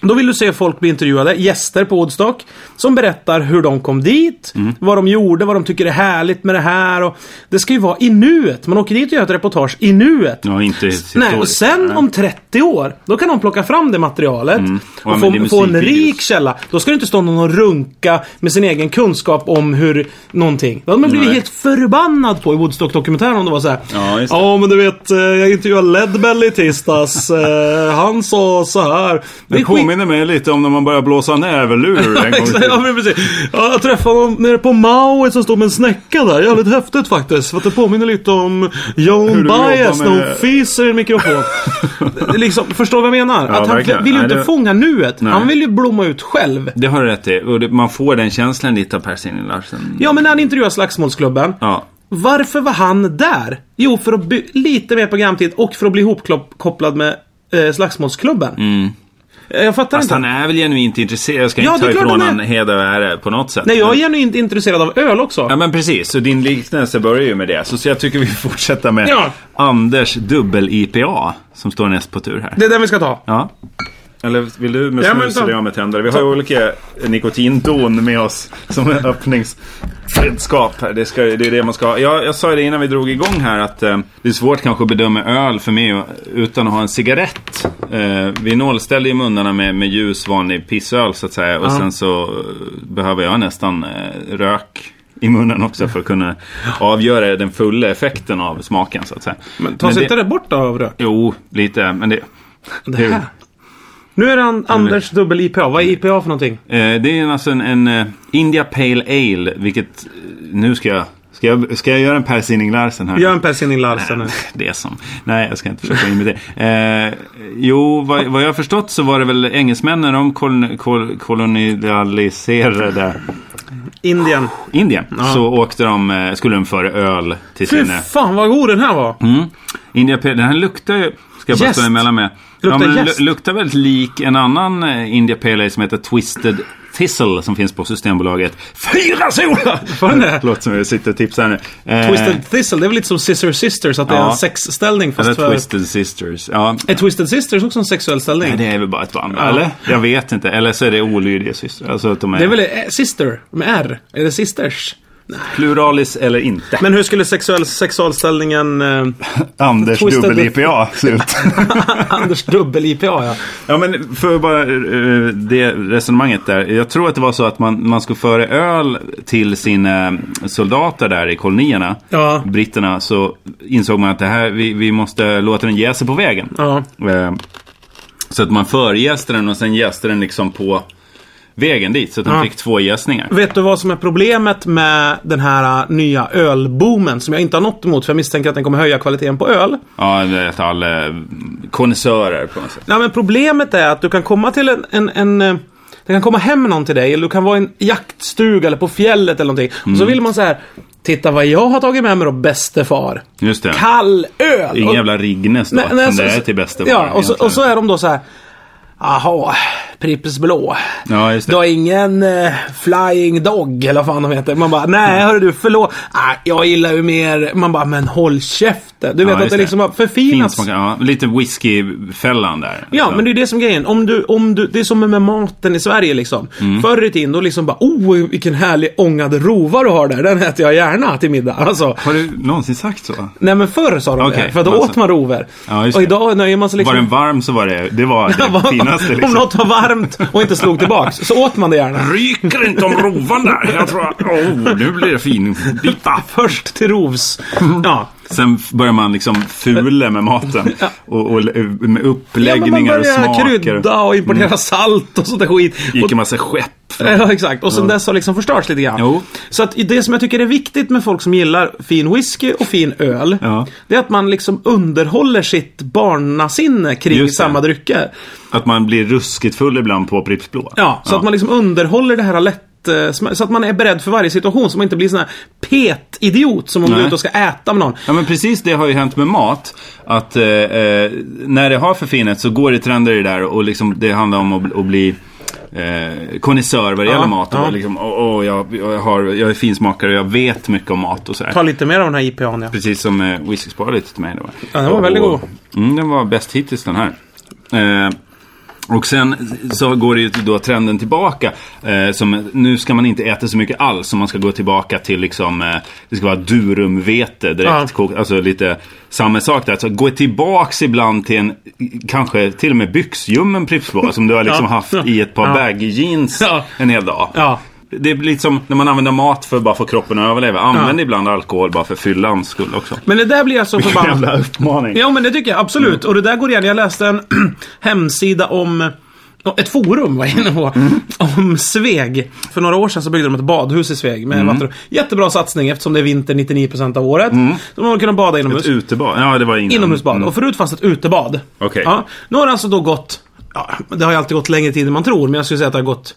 Speaker 2: Då vill du se folk bli intervjuade, gäster på Woodstock. Som berättar hur de kom dit, vad de gjorde, vad de tycker är härligt med det här. Och det ska ju vara i nuet. Man åker dit och gör ett reportage i nuet.
Speaker 1: Ja, inte
Speaker 2: Nej, och
Speaker 1: historiskt.
Speaker 2: sen om 30 år, då kan de plocka fram det materialet
Speaker 1: Och
Speaker 2: och
Speaker 1: använder
Speaker 2: få, få en
Speaker 1: musikvideos.
Speaker 2: rik källa. Då ska det inte stå någon och runka med sin egen kunskap om hur någonting. Då hade man blivit
Speaker 1: Nej.
Speaker 2: helt förbannad på i Woodstock-dokumentären om det var så här.
Speaker 1: Ja, just det.
Speaker 2: ja men du vet, eh, jag intervjuade Ledbell i tisdags. Eh, Han sa så här.
Speaker 1: Det
Speaker 2: är
Speaker 1: påminner mig lite om när man börjar blåsa näverlurer en gång
Speaker 2: Exakt, ja, men precis. Ja, jag träffade honom nere på Maui som stod med en snäcka där. Jävligt häftigt faktiskt. För att det påminner lite om
Speaker 1: Hur
Speaker 2: Joan
Speaker 1: du jobbar
Speaker 2: Baez när hon
Speaker 1: med-
Speaker 2: fiser i en mikrofon. Det- liksom, förstår du vad jag menar? att han
Speaker 1: verkligen.
Speaker 2: vill ju
Speaker 1: Nej,
Speaker 2: inte
Speaker 1: det-
Speaker 2: fånga nuet. Han vill ju blomma ut själv.
Speaker 1: Det har du rätt i. Och det, man får den känslan lite av Per Sinding Larsen.
Speaker 2: Ja, men när han intervjuade Slagsmålsklubben.
Speaker 1: Ja.
Speaker 2: Varför var han där? Jo, för att by- lite mer programtid och för att bli ihopkopplad med eh, Slagsmålsklubben. Eh, Jag fattar
Speaker 1: Mm. Fast
Speaker 2: inte.
Speaker 1: han är väl genuint intresserad. Jag ska
Speaker 2: Ja,
Speaker 1: inte
Speaker 2: det
Speaker 1: ta
Speaker 2: är klart
Speaker 1: ifrån
Speaker 2: han är.
Speaker 1: honom heder och ära på något sätt.
Speaker 2: Nej, jag
Speaker 1: Men-
Speaker 2: är genuint intresserad av öl också.
Speaker 1: Ja men precis, så din liknelse börjar ju med det. Så, så jag tycker vi fortsätter med
Speaker 2: Ja.
Speaker 1: Anders dubbel-IPA som står näst på tur här.
Speaker 2: Det är den vi ska ta.
Speaker 1: Ja. Eller vill du med
Speaker 2: Ja, men
Speaker 1: snus
Speaker 2: ta.
Speaker 1: eller jag med tändare? Vi har ju olika nikotindon med oss som en öppningsredskap. här. Det, ska, det är det man ska ha. Jag, jag sa ju det innan vi drog igång här att eh, det är svårt kanske att bedöma öl för mig utan att ha en cigarett. Eh, vi nollställde ju munnarna med, med ljus vanlig pissöl så att säga. Och sen så eh, behöver jag nästan eh, rök i munnen också för att kunna avgöra den fulla effekten av smaken så att säga. Men
Speaker 2: Tas inte
Speaker 1: det,
Speaker 2: det bort då av rök?
Speaker 1: Jo, lite. Men det...
Speaker 2: Det här. Nu är det an- Anders dubbel IPA. Vad är IPA för någonting?
Speaker 1: Eh, det är alltså en, en eh, India Pale Ale, vilket... eh, Nu ska jag... Ska jag, ska jag göra en Per Sinding Larsen här?
Speaker 2: Gör en Per Sinding Larsen nu.
Speaker 1: Det är som... Nej, jag ska inte försöka imitera. Eh, jo, vad, vad jag har förstått så var det väl engelsmännen, de kolon, kol, kolonialiserade
Speaker 2: Indien.
Speaker 1: Indien. Så åkte de, eh, skulle de föra öl till
Speaker 2: Fy
Speaker 1: sina...
Speaker 2: fan vad god den här var!
Speaker 1: Mm. India Pale, den här luktar ju... ska ska jag bara
Speaker 2: Jäst.
Speaker 1: stå emellan med.
Speaker 2: Luktar
Speaker 1: men
Speaker 2: jäst.
Speaker 1: lu- luktar väldigt lik en annan eh, India Pale Ale som heter Twisted Thistle som finns på Systembolaget. Fyra solar!
Speaker 2: Var den det?
Speaker 1: Låter som jag sitter och tipsar nu. Eh,
Speaker 2: Twisted Thistle, det är väl lite som Scissor Sisters, att det är
Speaker 1: Ja.
Speaker 2: en sexställning fast
Speaker 1: Eller
Speaker 2: för...
Speaker 1: Twisted Sisters. Ja.
Speaker 2: Är Twisted Sisters också en sexuell ställning?
Speaker 1: Nej,
Speaker 2: det...
Speaker 1: det är väl bara ett band, eller? Jag vet inte. Eller så är det olydiga systrar. Alltså att de är,
Speaker 2: är väl eh, Sister, med R? Är det Sisters?
Speaker 1: pluralis eller inte.
Speaker 2: Men hur skulle sexuell, sexualställningen eh,
Speaker 1: Anders
Speaker 2: Twisted-
Speaker 1: dubbel-IPA ser ut.
Speaker 2: Anders dubbel-IPA ja.
Speaker 1: Ja men för bara eh, det resonemanget där. Jag tror att det var så att man, man skulle föra öl till sina soldater där i kolonierna.
Speaker 2: Ja.
Speaker 1: Britterna. Så insåg man att det här, vi, vi måste låta den jäsa på vägen.
Speaker 2: Ja.
Speaker 1: Eh, Så att man förjäste den och sen jäste den liksom på vägen dit. Så att de
Speaker 2: Ja.
Speaker 1: fick två jäsningar.
Speaker 2: Vet du vad som är problemet med den här eh, nya ölboomen som jag inte har något emot för jag misstänker att den kommer höja kvaliteten på öl.
Speaker 1: Ja, det är ett all eh, konnässörer på något sätt.
Speaker 2: Nej men problemet är att du kan komma till en, en, en eh, det kan komma hem någon till dig eller du kan vara i en jaktstuga eller på fjället eller någonting. Och så
Speaker 1: Mm.
Speaker 2: vill man så här Titta vad jag har tagit med mig då bäste far.
Speaker 1: Just det.
Speaker 2: Kall öl!
Speaker 1: Ingen
Speaker 2: Och-
Speaker 1: jävla Rignes då,
Speaker 2: Nej, nej,
Speaker 1: som
Speaker 2: så-
Speaker 1: det är till bästa
Speaker 2: Ja,
Speaker 1: vara
Speaker 2: och så,
Speaker 1: egentligen.
Speaker 2: och så är de då så här. Jaha, Prippes blå.
Speaker 1: Ja, just det.
Speaker 2: Du har ingen eh, Flying Dog eller vad fan de heter. Man bara, nej
Speaker 1: Mm.
Speaker 2: hörru du, förlåt. Ah, jag gillar ju mer... Man bara, men håll käften. Du vet
Speaker 1: Ja,
Speaker 2: att
Speaker 1: just
Speaker 2: det liksom har
Speaker 1: Fint
Speaker 2: förfinats.
Speaker 1: smakar- ja, lite whiskyfällan där.
Speaker 2: Ja,
Speaker 1: Alltså.
Speaker 2: men det är det som är grejen. Om du, om du, det är som med maten i Sverige liksom.
Speaker 1: Mm.
Speaker 2: Förr i tiden då liksom bara, oh vilken härlig ångad rova du har där. Den äter jag gärna till middag. Alltså,
Speaker 1: Har du någonsin sagt så?
Speaker 2: nej men förr sa de det.
Speaker 1: Okej,
Speaker 2: För då
Speaker 1: alltså.
Speaker 2: åt man rover.
Speaker 1: Ja, just
Speaker 2: och
Speaker 1: det.
Speaker 2: idag nöjer man sig liksom...
Speaker 1: Var den varm så var det det, var det finaste.
Speaker 2: Om
Speaker 1: Liksom.
Speaker 2: något var varmt och inte slog tillbaks så åt man det gärna.
Speaker 1: Ryker inte om rovan där? Jag tror att, oh, nu blir det finbitta.
Speaker 2: Först till rovs.
Speaker 1: Mm.
Speaker 2: Ja.
Speaker 1: Sen f- börjar man liksom fule med maten. Och, och med
Speaker 2: ja men man
Speaker 1: uppläggningar och
Speaker 2: börjar
Speaker 1: smaker.
Speaker 2: krydda och importera salt och sånt där skit.
Speaker 1: Gick
Speaker 2: Och,
Speaker 1: en massa skepp.
Speaker 2: ja, exakt. Och sen dess har liksom förstörts lite grann.
Speaker 1: Jo.
Speaker 2: Så att det som jag tycker är viktigt med folk som gillar fin whisky och fin öl.
Speaker 1: Ja.
Speaker 2: Det är att man liksom underhåller sitt barnasinne kring
Speaker 1: Just det.
Speaker 2: samma drycker.
Speaker 1: Att man blir ruskigt full ibland på Pripps Blå.
Speaker 2: Ja, så att man liksom underhåller det här lätt eh, sm- så att man är beredd för varje situation så man inte blir sån här petidiot som om du är
Speaker 1: Nej.
Speaker 2: ute och ska äta med någon.
Speaker 1: Ja men precis det har ju hänt med mat. Att eh, eh, när det har förfinats så går det trender i det där och liksom det handlar om att, bli- att bli eh, konnässör vad det
Speaker 2: Ja,
Speaker 1: gäller mat. Och
Speaker 2: ja.
Speaker 1: liksom, åh, åh, jag, jag, har, jag är finsmakare och jag vet mycket om mat och sådär.
Speaker 2: Ta lite mer av den här IPAn ja.
Speaker 1: Precis som eh, Whisky Spar lite till mig. Det var.
Speaker 2: Ja, den var väldigt
Speaker 1: Och- Mm, den var bäst hittills den här. Eh, och sen så går det ju då trenden tillbaka. Eh, som, nu ska man inte äta så mycket alls. Så man ska gå tillbaka till liksom, eh, det ska vara durumvete
Speaker 2: Ja.
Speaker 1: direkt kokt. Alltså lite samma sak där. Så gå tillbaks ibland till en, kanske till och med byxljummen Pripps Blå, Som du har liksom
Speaker 2: Ja.
Speaker 1: haft i ett par
Speaker 2: Ja.
Speaker 1: baggy jeans
Speaker 2: Ja.
Speaker 1: en hel dag.
Speaker 2: Ja.
Speaker 1: Det blir lite som när man använder mat för bara för kroppen att överleva. Använd ibland alkohol bara för fyllans skull också.
Speaker 2: Men det där blir alltså jag så förbannad.
Speaker 1: Jävla uppmaning.
Speaker 2: Ja men det tycker jag absolut.
Speaker 1: Mm.
Speaker 2: Och det där går igen. Jag läste en hemsida om ett forum var jag inne på.
Speaker 1: Mm.
Speaker 2: Om Sveg. För några år sedan så byggde de ett badhus i Sveg med
Speaker 1: Mm.
Speaker 2: vatten. Jättebra satsning eftersom det är vinter 99% av året. Så man kunde bada inomhus.
Speaker 1: Mm. Ett utebad. Ja, det var innan.
Speaker 2: Inomhusbad. Och förut fanns ett utebad.
Speaker 1: Okej.
Speaker 2: Ja, nu har det alltså då gått, ja, det har ju alltid gått längre tid än man tror, men jag skulle säga att det har gått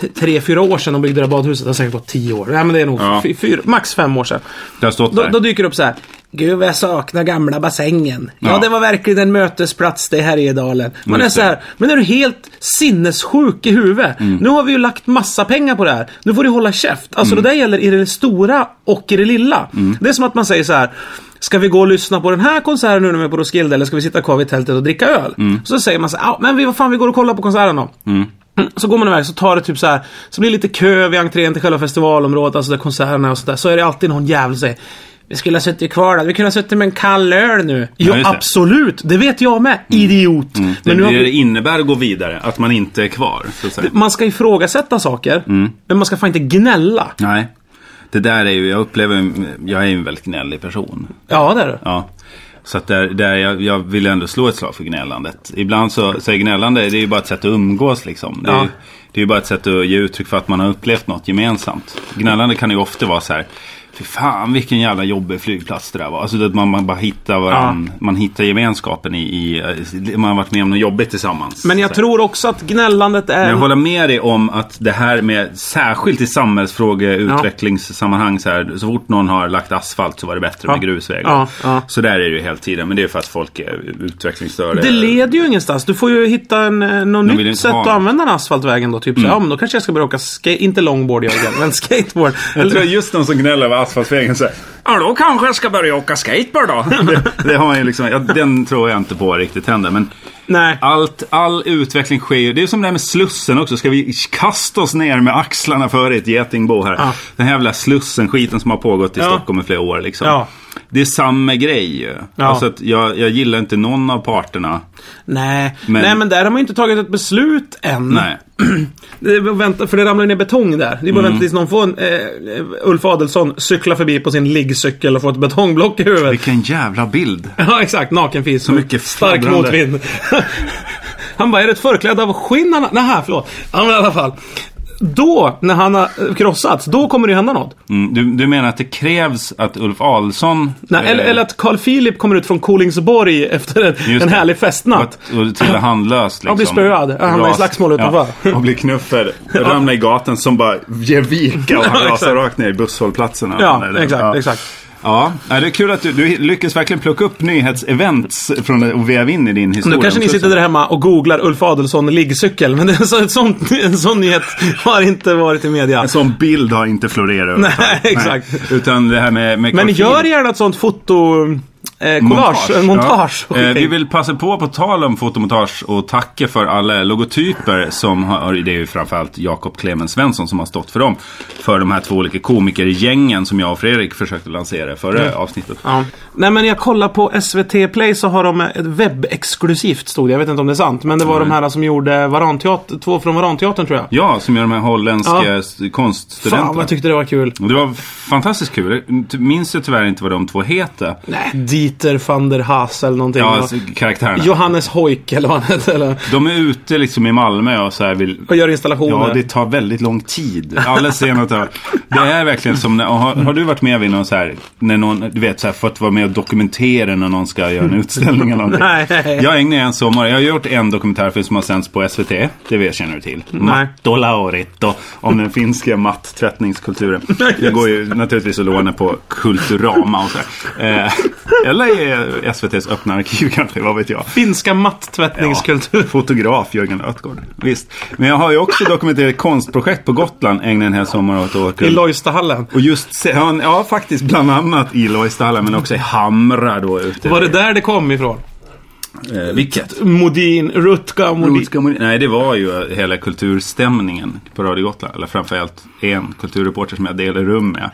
Speaker 2: t- tre, fyra år sedan de byggde det här badhuset. Det har säkert gått tio år. Nej men det är nog
Speaker 1: Ja.
Speaker 2: fy- fyra, max fem år sedan.
Speaker 1: Det har stått
Speaker 2: Då,
Speaker 1: där.
Speaker 2: då dyker det upp så här. Gud vad jag saknar gamla bassängen. Ja,
Speaker 1: Ja.
Speaker 2: det var verkligen en mötesplats det i Härjedalen. Man är
Speaker 1: Just Mm.
Speaker 2: så här, men är du helt sinnessjuk i huvudet? Nu har vi ju lagt massa pengar på det här. Nu får du hålla käft. Alltså
Speaker 1: Mm.
Speaker 2: det där gäller i det stora och i det lilla. Det är som att man säger så här. Ska vi gå och lyssna på den här konserten nu när vi är på Roskilde eller ska vi sitta kvar vid tältet och dricka öl?
Speaker 1: Mm.
Speaker 2: Så säger man så här, "Ja, men vi, vad fan vi går och kollar på konserten då. Mm. Så går man iväg så tar det typ så här. Så blir det lite kö vid entrén till själva festivalområdet, alltså där konserterna och sånt där. Så är det alltid någon jävel som säger Vi skulle ha suttit kvar där, vi kunde ha suttit med en kall öl nu. Ja,
Speaker 1: just det. Mm.
Speaker 2: absolut, det vet jag med. Idiot.
Speaker 1: Det,
Speaker 2: Men nu har
Speaker 1: det
Speaker 2: vi...
Speaker 1: innebär att gå vidare, att man inte är kvar. Så att säga.
Speaker 2: Man ska ifrågasätta saker,
Speaker 1: Mm.
Speaker 2: men man ska fan inte gnälla.
Speaker 1: Nej. Det där är ju, jag upplever, jag är ju en väldigt gnällig person.
Speaker 2: Ja, det är du.
Speaker 1: Ja. Så att där, där jag, jag vill ändå slå ett slag för gnällandet. Ibland så, så är gnällande, det är ju bara ett sätt att umgås liksom. Det är,
Speaker 2: Ja.
Speaker 1: ju- det är ju bara ett sätt att ge uttryck för att man har upplevt något gemensamt. Gnällande kan ju ofta vara så här. Fy fan vilken jävla jobbig flygplats det där var. Alltså att man, man bara hittar varandra. Man hittar gemenskapen i, i... Man har varit med om något jobbigt tillsammans.
Speaker 2: Men jag
Speaker 1: Så.
Speaker 2: tror också att gnällandet är...
Speaker 1: Men jag håller med dig om att det här med särskilt i samhällsfrågor, utvecklingssammanhang så här. Så fort någon har lagt asfalt så var det bättre med
Speaker 2: Ja.
Speaker 1: grusvägar.
Speaker 2: Ja, ja.
Speaker 1: Så där är det ju hela tiden. Men det är för att folk är utvecklingsstörda.
Speaker 2: Det leder ju ingenstans. Du får ju hitta en, eh, något
Speaker 1: vill
Speaker 2: nytt
Speaker 1: inte
Speaker 2: sätt
Speaker 1: ha Mm.
Speaker 2: att
Speaker 1: den.
Speaker 2: använda den asfaltvägen då. Typ så, ja men då kanske jag ska börja åka, ska- inte longboard Jörgen, men skateboard.
Speaker 1: Jag tror
Speaker 2: Eller,
Speaker 1: just de som gnäller över asfaltvägen säger Ja då kanske jag ska börja åka skateboard då. det, det har man ju liksom, ja, den tror jag inte på riktigt händer. Men
Speaker 2: nej.
Speaker 1: allt, all utveckling sker ju. Det är som det här med Slussen också. Ska vi kasta oss ner med axlarna före ett getingbo här?
Speaker 2: Ja.
Speaker 1: Den här jävla Slussen-skiten som har pågått i
Speaker 2: Ja.
Speaker 1: Stockholm i flera år liksom.
Speaker 2: Ja.
Speaker 1: Det är samma grej ju.
Speaker 2: Ja.
Speaker 1: Alltså att jag, jag gillar inte någon av parterna.
Speaker 2: Nej.
Speaker 1: Men-
Speaker 2: nej, men där har man ju inte tagit ett beslut än.
Speaker 1: Nej.
Speaker 2: Det är bara att vänta, för det ramlar ju ner betong där. Det är bara att
Speaker 1: Mm.
Speaker 2: vänta tills någon får en, eh, Ulf Adelsson cykla förbi på sin liggcykel och får ett betongblock i huvudet.
Speaker 1: Vilken jävla bild.
Speaker 2: Ja, exakt. Nakenfis. Så
Speaker 1: mycket
Speaker 2: Stark
Speaker 1: fladdrande.
Speaker 2: motvind. han bara, är det ett förkläde av skinn han har-" Nähä, förlåt. Ja, men i alla fall. Då, när han har eh, krossats, då kommer det hända något.
Speaker 1: Mm, du, du menar att det krävs att Ulf Ahlson...
Speaker 2: Nej, eller,
Speaker 1: eh,
Speaker 2: eller att Carl Philip kommer ut från Kolingsborg efter en,
Speaker 1: Just
Speaker 2: en
Speaker 1: det.
Speaker 2: härlig festnatt.
Speaker 1: Och, och trillar handlöst liksom.
Speaker 2: Ja, blir spöad. Ja, hamnar i
Speaker 1: Ras-
Speaker 2: slagsmål utanför.
Speaker 1: Ja, och blir knuffad. Ramlar i gatan som bara ger vika och
Speaker 2: Ja,
Speaker 1: han
Speaker 2: exakt.
Speaker 1: rasar rakt ner i busshållplatsen.
Speaker 2: Ja,
Speaker 1: Eller-
Speaker 2: exakt,
Speaker 1: ja.
Speaker 2: exakt.
Speaker 1: Ja, nej, det är kul att du, du lyckas verkligen plocka upp nyhetsevents från det och väva in i din historia.
Speaker 2: Nu kanske ni
Speaker 1: om
Speaker 2: sitter
Speaker 1: Slussen.
Speaker 2: där hemma och googlar Ulf Adelsohn liggcykel, men det är så, ett sånt, en sån nyhet har inte varit i media.
Speaker 1: En sån bild har inte florerat.
Speaker 2: Nej,
Speaker 1: överhuvudtaget.
Speaker 2: exakt.
Speaker 1: Nej, Utan det här med... med
Speaker 2: Men
Speaker 1: Carl
Speaker 2: gör
Speaker 1: Philip.
Speaker 2: gärna ett sånt foto... Eh, collage, en montage.
Speaker 1: Ja. Eh, vi vill passa på, på tal om fotomontage, och tacka för alla logotyper som har, det är ju framförallt Jakob Clemens Svensson som har stått för dem. För de här två olika komikergängen som jag och Fredrik försökte lansera i förra avsnittet.
Speaker 2: Ja. Nej men jag kollar på SVT Play så har de ett webbexklusivt stod det. Jag vet inte om det är sant. Men det var de här som gjorde Varanteater, två från Varanteatern tror jag.
Speaker 1: Ja, som gör de här holländska
Speaker 2: Ja.
Speaker 1: s-
Speaker 2: Fan vad
Speaker 1: konststudenterna.
Speaker 2: jag tyckte det var kul.
Speaker 1: Och det var fantastiskt kul. Jag minns ju tyvärr inte vad de två heter.
Speaker 2: Nej, Dieter van der Haas eller någonting.
Speaker 1: Ja,
Speaker 2: Och
Speaker 1: alltså, karaktärerna.
Speaker 2: Johannes Hoik eller vad han hette. Eller,
Speaker 1: De är ute liksom i Malmö och så här vill
Speaker 2: och gör installationer.
Speaker 1: Ja, det tar väldigt lång tid. Alla scener tar... Det är verkligen som när, och har, har du varit med vid någon så här, när någon, du vet så här, fått vara med och dokumentera när någon ska göra en utställning eller någonting?
Speaker 2: Nej.
Speaker 1: Jag ägnade en sommar, jag har gjort en dokumentärfilm som har sänts på SVT, det känner du till. Matto Lauritto, om den finska mattvättningskulturen. Det går ju naturligtvis att låna på Kulturama och så här. Eh, Eller i SVTs öppna arkiv kanske, vad vet jag.
Speaker 2: Finska mattvättningskultur.
Speaker 1: Fotograf Jörgen Ötgård. Visst. Men jag har ju också dokumenterat ett konstprojekt på Gotland. Ägnade den här sommaren åt att åka
Speaker 2: I
Speaker 1: runt.
Speaker 2: Lojstahallen.
Speaker 1: Och just, se- ja, ja faktiskt bland annat i Lojstahallen men också i Hamra då ute.
Speaker 2: Var det där det kom ifrån?
Speaker 1: Eh, vilket?
Speaker 2: Modin, Rutka och Modin.
Speaker 1: Nordiska Moni- Nej, det var ju hela kulturstämningen på Radio Gotland. Eller framförallt en kulturreporter som jag delade rum med.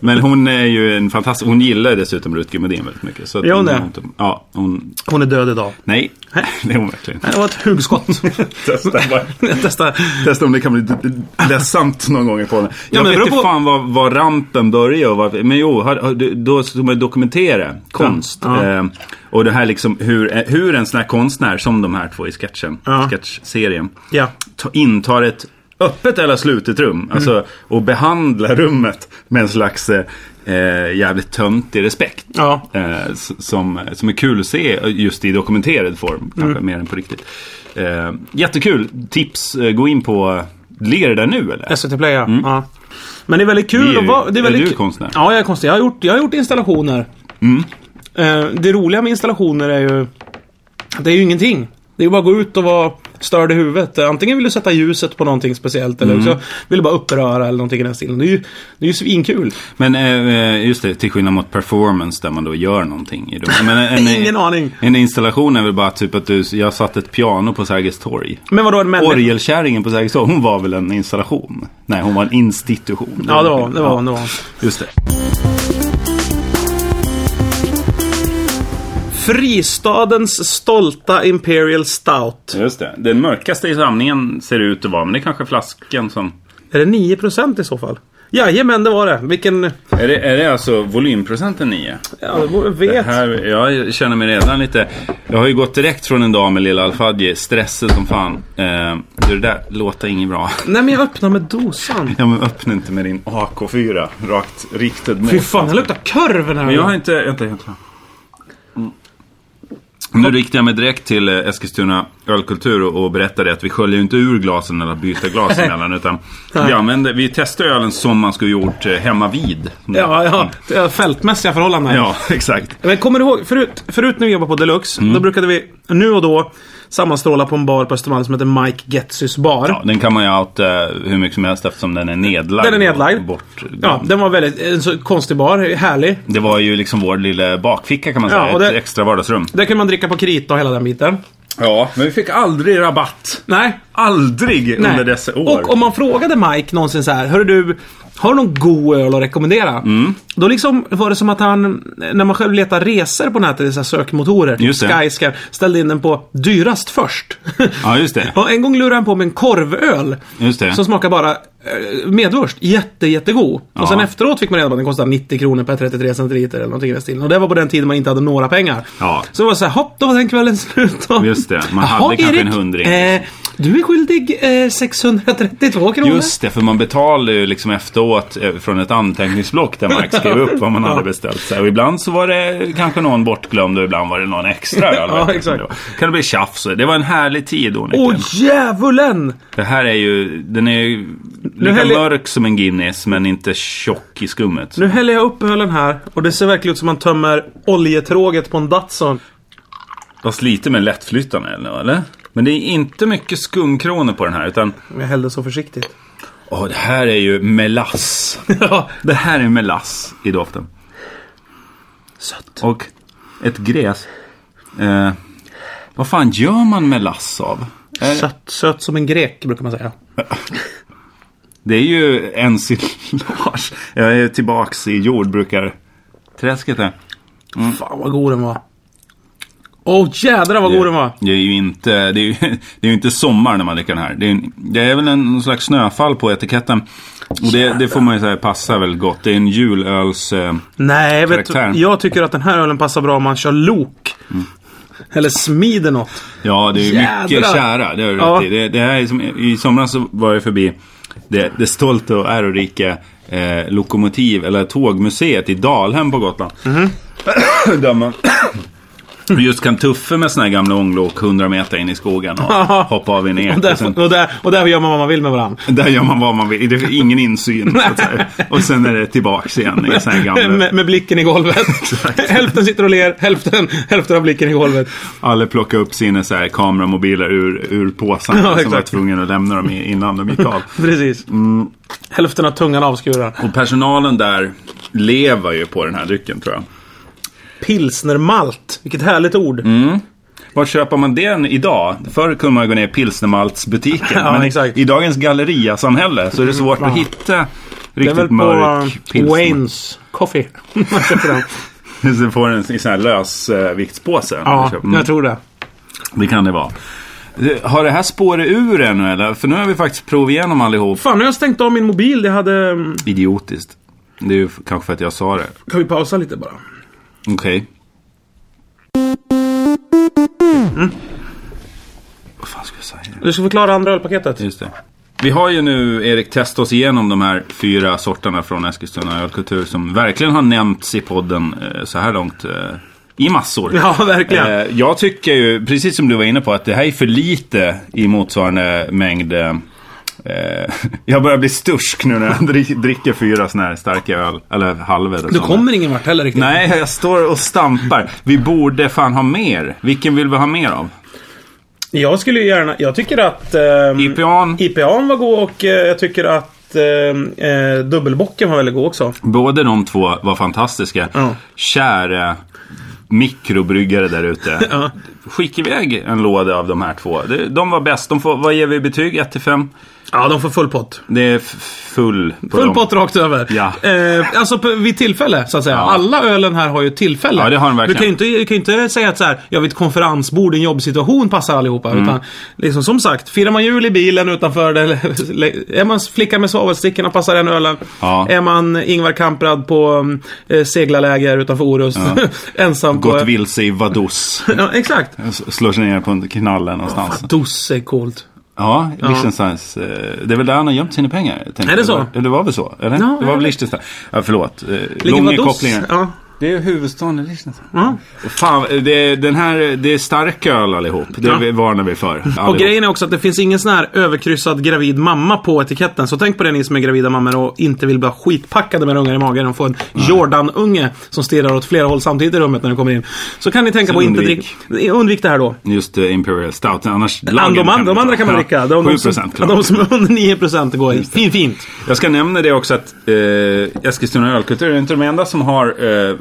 Speaker 1: Men hon är ju en fantastisk... Hon gillar dessutom Rutger Modin väldigt mycket. Så att
Speaker 2: Gör hon det?
Speaker 1: Ja, hon...
Speaker 2: Hon är död idag.
Speaker 1: Nej, det är hon verkligen inte.
Speaker 2: Det var ett hugskott.
Speaker 1: Testa bara.
Speaker 2: jag testar.
Speaker 1: Testa om det kan bli d- d- ledsamt någon gång i podden. Jag
Speaker 2: men det
Speaker 1: vet
Speaker 2: beror
Speaker 1: inte
Speaker 2: på-
Speaker 1: fan var, var rampen började och var, Men jo, har, har, du- då ska man dokumentera konst.
Speaker 2: Ja.
Speaker 1: Eh, och det här liksom hur, eh, hur en sån här konstnär som de här två i sketchen,
Speaker 2: Ja.
Speaker 1: sketchserien,
Speaker 2: Ja. Mm.
Speaker 1: ta, intar ett öppet eller slutet rum. Alltså, och behandlar rummet med en slags eh, eh, jävligt töntig respekt.
Speaker 2: Ja.
Speaker 1: Eh, s- som, som är kul att se just i dokumenterad form,
Speaker 2: Mm.
Speaker 1: kanske mer än på riktigt. Eh, jättekul tips, eh, gå in på, ligger det där nu eller?
Speaker 2: SVT Play ja. ja. Men det är väldigt
Speaker 1: Mm. Vi är
Speaker 2: kul
Speaker 1: ju-
Speaker 2: att vara... Det är,
Speaker 1: är
Speaker 2: väldigt
Speaker 1: du
Speaker 2: kul-
Speaker 1: konstnär? Mm.
Speaker 2: Ja, jag är konstnär. Jag har gjort, jag har gjort installationer. Eh, det roliga med installationer är ju... att Det är ju ingenting. Det är ju bara att gå ut och vara störd i huvudet. Eh, Antingen vill du sätta ljuset på någonting speciellt eller
Speaker 1: Mm.
Speaker 2: så vill du bara uppröra eller någonting i den stilen. Det är ju, det är ju svinkul.
Speaker 1: Men eh, eh, just det, till skillnad mot performance där man då gör någonting. I rummet. Men eh, en,
Speaker 2: Ingen aning.
Speaker 1: En installation är väl bara typ att du, jag satt ett piano på Sergels torg.
Speaker 2: Men vadå, en människa...
Speaker 1: Orgelkärringen på Sergels torg, hon var väl en installation? Nej, hon var en institution.
Speaker 2: Ja, det var det var,
Speaker 1: Ja,
Speaker 2: hon, det var hon.
Speaker 1: Just det.
Speaker 2: Fristadens stolta Imperial Stout.
Speaker 1: Just det. Den mörkaste i samlingen ser det ut att vara, men det är kanske flaskan som...
Speaker 2: Är det 9% i så fall? Jajamän, det var det. Vilken...
Speaker 1: Är det, är det alltså volymprocenten 9?
Speaker 2: Ja, vore-
Speaker 1: Det
Speaker 2: vet.
Speaker 1: här, jag känner mig redan lite... Jag har ju gått direkt från en dag med lilla Alfadji, stressad som fan. Eh, du, det där låter inget bra.
Speaker 2: Nej, men jag öppnar med dosan.
Speaker 1: Ja, men öppna inte med din AK4 rakt riktad mot...
Speaker 2: Fy fan, det luktar korv den här.
Speaker 1: Men jag har inte... Vänta, jag tror. Mm. Nu riktar jag mig direkt till eh, Eskilstuna ölkultur och, och berättar det att vi sköljer ju inte ur glasen eller byter glas emellan. Utan vi,
Speaker 2: Nej.
Speaker 1: använder, vi testar ölen som man skulle gjort eh, hemma vid.
Speaker 2: Ja, ja. Det är Fältmässiga förhållanden.
Speaker 1: ja, exakt.
Speaker 2: Men kommer du ihåg, förut, förut när vi jobbade på Deluxe,
Speaker 1: Mm.
Speaker 2: då brukade vi nu och då sammanstråla på en bar på Östermalm som heter Mike Getsys bar.
Speaker 1: Ja, den kan man ju outa hur mycket som helst eftersom den är nedlagd.
Speaker 2: Den är nedlagd.
Speaker 1: och Bort.
Speaker 2: Ja, den var väldigt en så konstig bar, härlig.
Speaker 1: Det var ju liksom vår lilla bakficka kan man
Speaker 2: Ja,
Speaker 1: säga.
Speaker 2: och
Speaker 1: Ett
Speaker 2: det-
Speaker 1: extra vardagsrum.
Speaker 2: Där kunde man dricka på krita och hela den biten.
Speaker 1: Ja, men vi fick aldrig rabatt.
Speaker 2: Nej.
Speaker 1: Aldrig
Speaker 2: nej.
Speaker 1: under dessa år.
Speaker 2: Och om man frågade Mike någonsin så här, hörru du, har du någon god öl att rekommendera?
Speaker 1: Mm.
Speaker 2: Då liksom var det som att han, när man själv letar resor på nätet i så här sökmotorer, typ
Speaker 1: Just det.
Speaker 2: Skyscan, ställde in den på dyrast först.
Speaker 1: Ja, just det.
Speaker 2: Och en gång lurade han på med en korvöl.
Speaker 1: Just det.
Speaker 2: Som smakar bara eh, medvurst. Jätte, jättegod.
Speaker 1: Ja.
Speaker 2: Och sen efteråt fick man reda på att den kostade 90 kronor per 33 centiliter eller någonting i den stilen. Och det var på den tiden man inte hade några pengar.
Speaker 1: Ja.
Speaker 2: Så det var så här, hopp, då var den kvällen slut. då.
Speaker 1: Just det. Man hade kanske en hundring,
Speaker 2: Eh, du är skyldig eh, 632 kronor.
Speaker 1: Just det, för man betalade ju liksom efteråt eh, från ett anteckningsblock där Mark skrev upp vad man hade beställt. Så här, och ibland så var det kanske någon bortglömd och ibland var det någon extra. öl, vet
Speaker 2: Ja,
Speaker 1: jag,
Speaker 2: exakt.
Speaker 1: som det var. Kan det bli tjafs? Det var en härlig tid
Speaker 2: Åh
Speaker 1: onekligen.
Speaker 2: djävulen!
Speaker 1: Det här är ju, den är ju lika
Speaker 2: häller-
Speaker 1: mörk som en Guinness men inte tjock i skummet.
Speaker 2: Nu häller jag upp ölen här och det ser verkligen ut som man tömmer oljetråget på en Datsun.
Speaker 1: Fast lite mer lättflytande eller? eller? Men det är inte mycket skumkronor på den här utan
Speaker 2: Jag hällde så försiktigt.
Speaker 1: Åh, det här är ju melass.
Speaker 2: Ja.
Speaker 1: Det här är melass i doften.
Speaker 2: Sött.
Speaker 1: Och ett gräs. Eh, vad fan gör man melass av? Eh,
Speaker 2: Sött, sött som en grek brukar man säga.
Speaker 1: det är ju ensilage. Jag är tillbaks i jordbrukarträsket här.
Speaker 2: Fan vad god den var. Åh jädrar vad god den var.
Speaker 1: Det är ju inte, det är ju, det är ju inte sommar när man dricker den här. Det är, en- det är väl en någon slags snöfall på etiketten. Och det, det får man ju säga passar väldigt gott. Det är en julöls... Eh,
Speaker 2: Nej, vet du,
Speaker 1: Karaktär.
Speaker 2: jag tycker att den här ölen passar bra om man kör lok. Mm. Eller smider något.
Speaker 1: Ja, det är ju mycket
Speaker 2: Jädrar!
Speaker 1: kära. Det har du
Speaker 2: Ja.
Speaker 1: rätt i. Det, det här är som, I somras så var jag förbi det, det stolta och ärorika eh, lokomotiv eller tågmuseet i Dalhem på Gotland.
Speaker 2: Mhm.
Speaker 1: Där man just kan tuffa med såna här gamla ånglok 100 meter in i skogen och
Speaker 2: Ja.
Speaker 1: hoppa av i en ek.
Speaker 2: Och
Speaker 1: Och sen,
Speaker 2: där, och, där, och där gör man vad man vill med varandra.
Speaker 1: där gör man vad man vill. Det är ingen insyn. så att säga. Och sen är det tillbaks igen i såna här gamla...
Speaker 2: Med, med blicken i golvet. hälften sitter och ler, hälften, hälften har blicken i golvet.
Speaker 1: Alla plockade upp sina så här kameramobiler ur, ur påsarna.
Speaker 2: Ja,
Speaker 1: som var
Speaker 2: exakt.
Speaker 1: tvungen att lämna dem i- innan de gick av.
Speaker 2: Precis.
Speaker 1: Mm.
Speaker 2: Hälften har tungan avskuren.
Speaker 1: Och personalen där lever ju på den här drycken tror jag.
Speaker 2: Pilsnermalt. Vilket härligt ord.
Speaker 1: Mm, Var köper man den idag? Förr kunde man ju gå ner i pilsnermaltsbutiken.
Speaker 2: Ja,
Speaker 1: men i-
Speaker 2: exakt. Mm,
Speaker 1: i dagens galleriasamhälle så är det svårt att hitta
Speaker 2: Det är väl
Speaker 1: riktigt
Speaker 2: på
Speaker 1: mörk
Speaker 2: eh,
Speaker 1: pilsner.
Speaker 2: Wayne's Coffee. man köper den.
Speaker 1: Så får den i sån här lös eh, viktspåse.
Speaker 2: Ja,
Speaker 1: Mm,
Speaker 2: jag tror det.
Speaker 1: Det kan det vara. Eh, Har det här spåret ur ännu eller? För nu har vi faktiskt provat igenom allihop.
Speaker 2: Fan, nu har jag stängt av min mobil. Det hade... mm,
Speaker 1: Idiotiskt. Det är ju f- kanske för att jag sa det.
Speaker 2: Kan vi pausa lite bara?
Speaker 1: Okej. Mm. Vad fan ska jag säga?
Speaker 2: Du ska förklara andra ölpaketet.
Speaker 1: Just det. Vi har ju nu, Erik, testat oss igenom de här fyra sorterna från Eskilstuna ölkultur som verkligen har nämnts i podden eh, så här långt. Eh, I massor.
Speaker 2: Ja, verkligen.
Speaker 1: Eh, jag tycker ju, precis som du var inne på, att det här är för lite i motsvarande mängd. Eh, eh, jag börjar bli stursk nu när jag dri- dricker fyra såna här starka öl. Eller halvöl.
Speaker 2: Du kommer ingen vart heller riktigt.
Speaker 1: Nej, jag står och stampar. Vi borde fan ha mer. Vilken vill vi ha mer av?
Speaker 2: Jag skulle ju gärna... Jag tycker att... ehm,
Speaker 1: IPAn?
Speaker 2: IPAn var god och eh, jag tycker att ehm, eh, dubbelbocken var väldigt god också.
Speaker 1: Båda de två var fantastiska.
Speaker 2: Ja.
Speaker 1: Kära mikrobryggare där ute. skicka iväg en låda av de här två. Det- De var bäst. De får, vad ger vi i betyg? 1 till 5?
Speaker 2: Ja, de får full pott.
Speaker 1: Det är f- full på
Speaker 2: Full
Speaker 1: dem.
Speaker 2: pott rakt över.
Speaker 1: Ja.
Speaker 2: Eh, alltså på, vid tillfälle, så att säga.
Speaker 1: Ja.
Speaker 2: Alla ölen här har ju tillfälle.
Speaker 1: Ja, det har de
Speaker 2: du
Speaker 1: verkligen.
Speaker 2: kan ju inte, du kan ju inte säga att så här, jag vid ett konferensbord, i en jobbsituation passar allihopa.
Speaker 1: Mm.
Speaker 2: Utan, liksom, som sagt, firar man jul i bilen utanför, eller, är man flicka med svavelstickorna passar den ölen.
Speaker 1: Ja.
Speaker 2: Är man Ingvar Kamprad på eh, seglarläger utanför Orust, ensam
Speaker 1: Gått
Speaker 2: på...
Speaker 1: vilse i Vaduz.
Speaker 2: Ja, exakt.
Speaker 1: S- Slår sig ner på en knalle någonstans.
Speaker 2: Dos är coolt.
Speaker 1: Ja, Liechtensteins. eh, Det är väl där han har gömt sina pengar? tänker jag.
Speaker 2: det så?
Speaker 1: Eller det var väl så? Eller?
Speaker 2: Ja,
Speaker 1: det
Speaker 2: jag
Speaker 1: var väl
Speaker 2: vet.
Speaker 1: Liechtenstein? Ja, förlåt. Eh,
Speaker 2: Ligger
Speaker 1: Lång i
Speaker 2: Vaduz?
Speaker 1: kopplingen.
Speaker 2: Ja.
Speaker 1: Det är huvudstaden i Liechtenstein.
Speaker 2: Ja.
Speaker 1: Fan, det är, den här, det är stark öl allihop. Det
Speaker 2: Ja.
Speaker 1: vi- varnar vi för.
Speaker 2: Och
Speaker 1: allihop.
Speaker 2: grejen är också att det finns ingen sån här överkryssad gravid mamma på etiketten. Så tänk på det ni som är gravida mammor och inte vill bli skitpackade med ungar i magen och få en Jordan-unge som stirrar åt flera håll samtidigt i rummet när den kommer in. Så kan ni tänka på att inte dricka...
Speaker 1: undvik.
Speaker 2: Undvik det här då.
Speaker 1: Just eh, Imperial Stout. Annars
Speaker 2: De,
Speaker 1: lagen
Speaker 2: de,
Speaker 1: vi
Speaker 2: an- de
Speaker 1: ta.
Speaker 2: andra kan man
Speaker 1: Ja,
Speaker 2: dricka. De, de,
Speaker 1: 7%
Speaker 2: som,
Speaker 1: klart.
Speaker 2: de som är under 9% går i. Fint, fint.
Speaker 1: Jag ska nämna det också att eh, Eskilstuna ölkultur är inte de enda som har eh,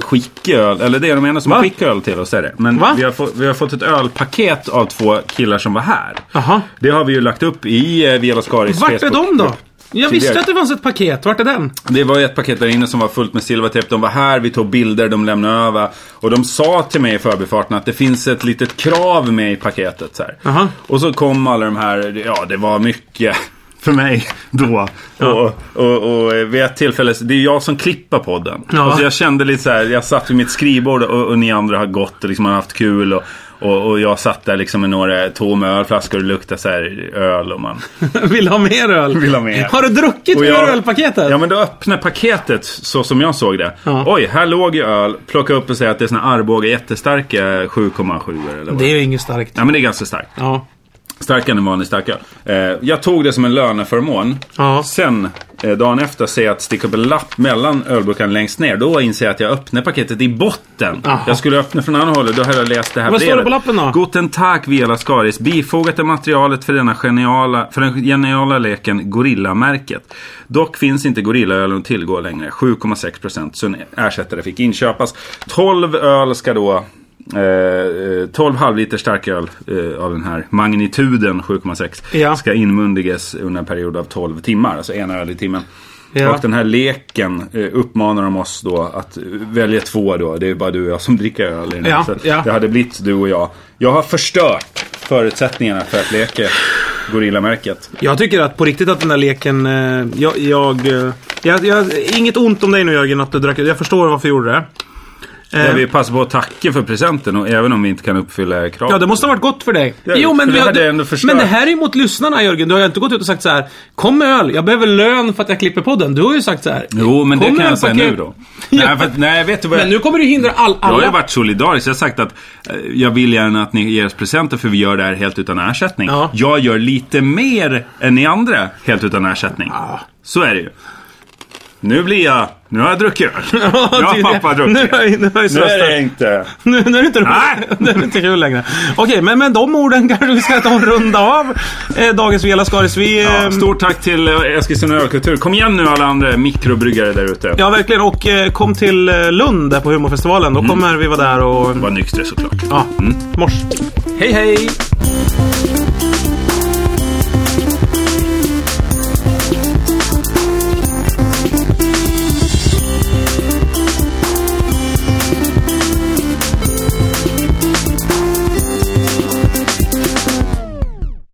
Speaker 1: skicköl. Eller det är de enda som
Speaker 2: Va?
Speaker 1: har skicköl till oss. Är det. Men
Speaker 2: Va?
Speaker 1: vi har, fått, vi har fått ett ölpaket av två killar som var här.
Speaker 2: Jaha.
Speaker 1: Det har vi ju lagt upp i eh, Viola Scaris
Speaker 2: Vart är de då? Jag visste
Speaker 1: Tidigare.
Speaker 2: att det fanns ett paket. Vart är den?
Speaker 1: Det var ju ett paket där inne som var fullt med silvertejp. De var här, vi tog bilder, de lämnade över. Och de sa till mig i förbifarten att det finns ett litet krav med i paketet. Så här.
Speaker 2: Aha.
Speaker 1: Och så kom alla de här, ja det var mycket för mig då. Och, och, och vid ett tillfälle, så- det är jag som klipper podden.
Speaker 2: Ja.
Speaker 1: Och så jag kände lite så här, jag satt vid mitt skrivbord och, och ni andra har gått och liksom har haft kul. Och, och, och jag satt där liksom med några tomma ölflaskor och det luktade så här öl. Och man...
Speaker 2: Vill ha mer öl?
Speaker 1: Vill ha mer.
Speaker 2: Har du druckit
Speaker 1: Och
Speaker 2: ur
Speaker 1: jag-
Speaker 2: ölpaketet?
Speaker 1: Ja men då öppnar paketet så som jag såg det.
Speaker 2: Ja.
Speaker 1: Oj, här låg ju öl. Plocka upp och säga att det är såna Arboga jättestarka 7,7 eller vad
Speaker 2: Det är ju inget starkt.
Speaker 1: Ja men det är ganska starkt.
Speaker 2: Ja.
Speaker 1: Starkare än en vanlig starköl. Eh, jag tog det som en löneförmån.
Speaker 2: Ja.
Speaker 1: Sen, eh, dagen efter, ser jag att sticka upp en lapp mellan ölburkarna längst ner. Då inser jag att jag öppnar paketet i botten.
Speaker 2: Aha.
Speaker 1: Jag skulle öppna från andra hållet, då hade jag läst det här
Speaker 2: Vad står det på lappen då?
Speaker 1: Guten Tag, Viola Skaris. Bifogat är materialet för, denna geniala, för den geniala leken Gorillamärket. Dock finns inte Gorillaölen att tillgå längre. 7,6% så en ersättare fick inköpas. 12 öl ska då Eh, eh, 12 halvliter starköl eh, av den här magnituden 7,6
Speaker 2: Ja.
Speaker 1: ska inmundigas under en period av 12 timmar, alltså en öl i timmen.
Speaker 2: Ja.
Speaker 1: Och den här leken eh, uppmanar de oss då att eh, välja två då. Det är bara du och jag som dricker öl i den här.
Speaker 2: Ja,
Speaker 1: Så att
Speaker 2: ja.
Speaker 1: Det hade blivit du och jag. Jag har förstört förutsättningarna för att leka Gorillamärket.
Speaker 2: Jag tycker att på riktigt att den där leken... Eh, jag, jag, eh, jag, jag, inget ont om dig nu Jörgen att du drack Jag förstår varför du gjorde det. Eh,
Speaker 1: Jag vill passa på att tacka för presenten, och även om vi inte kan uppfylla kraven.
Speaker 2: Ja, det måste ha varit gott för dig.
Speaker 1: Ja, för det
Speaker 2: vi har-
Speaker 1: hade jag ändå förstört.
Speaker 2: men det här är ju mot lyssnarna Jörgen. Du har ju inte gått ut och sagt så här. Kom med öl, jag behöver lön för att jag klipper podden. Du har ju sagt så här.
Speaker 1: Jo, men det
Speaker 2: "Kom
Speaker 1: kan
Speaker 2: med
Speaker 1: jag säga
Speaker 2: paket."
Speaker 1: nu då. Nej, för, att- nej, vet du vad jag...
Speaker 2: Men nu kommer du hindra all,
Speaker 1: Jag har ju
Speaker 2: alla.
Speaker 1: varit solidarisk. Jag har sagt att eh, jag vill gärna att ni ger oss presenter för vi gör det här helt utan ersättning.
Speaker 2: Ja.
Speaker 1: Jag gör lite mer än ni andra helt utan ersättning. Så är det ju. Nu blir jag... Nu har jag druckit öl. Nu har
Speaker 2: tydligen.
Speaker 1: pappa
Speaker 2: Nu
Speaker 1: druckit.
Speaker 2: har jag- nu har jag
Speaker 1: Nu är det
Speaker 2: röstat.
Speaker 1: inte...
Speaker 2: Nu, nu är det inte
Speaker 1: Nej!
Speaker 2: roligt. Nu är det inte kul längre. Okej, men med de orden kanske vi ska ta och runda av eh, dagens Vela Skaris. Vi...
Speaker 1: Ja,
Speaker 2: ehm,
Speaker 1: stort tack till eh, Eskilstuna Ölkultur. Kom igen nu alla andra mikrobryggare där ute.
Speaker 2: Ja, verkligen. Och eh, kom till eh, Lund
Speaker 1: Mm.
Speaker 2: där på humorfestivalen. Då kommer vi vara där och...
Speaker 1: Var nykter såklart.
Speaker 2: Ja, mors.
Speaker 1: Hej hej!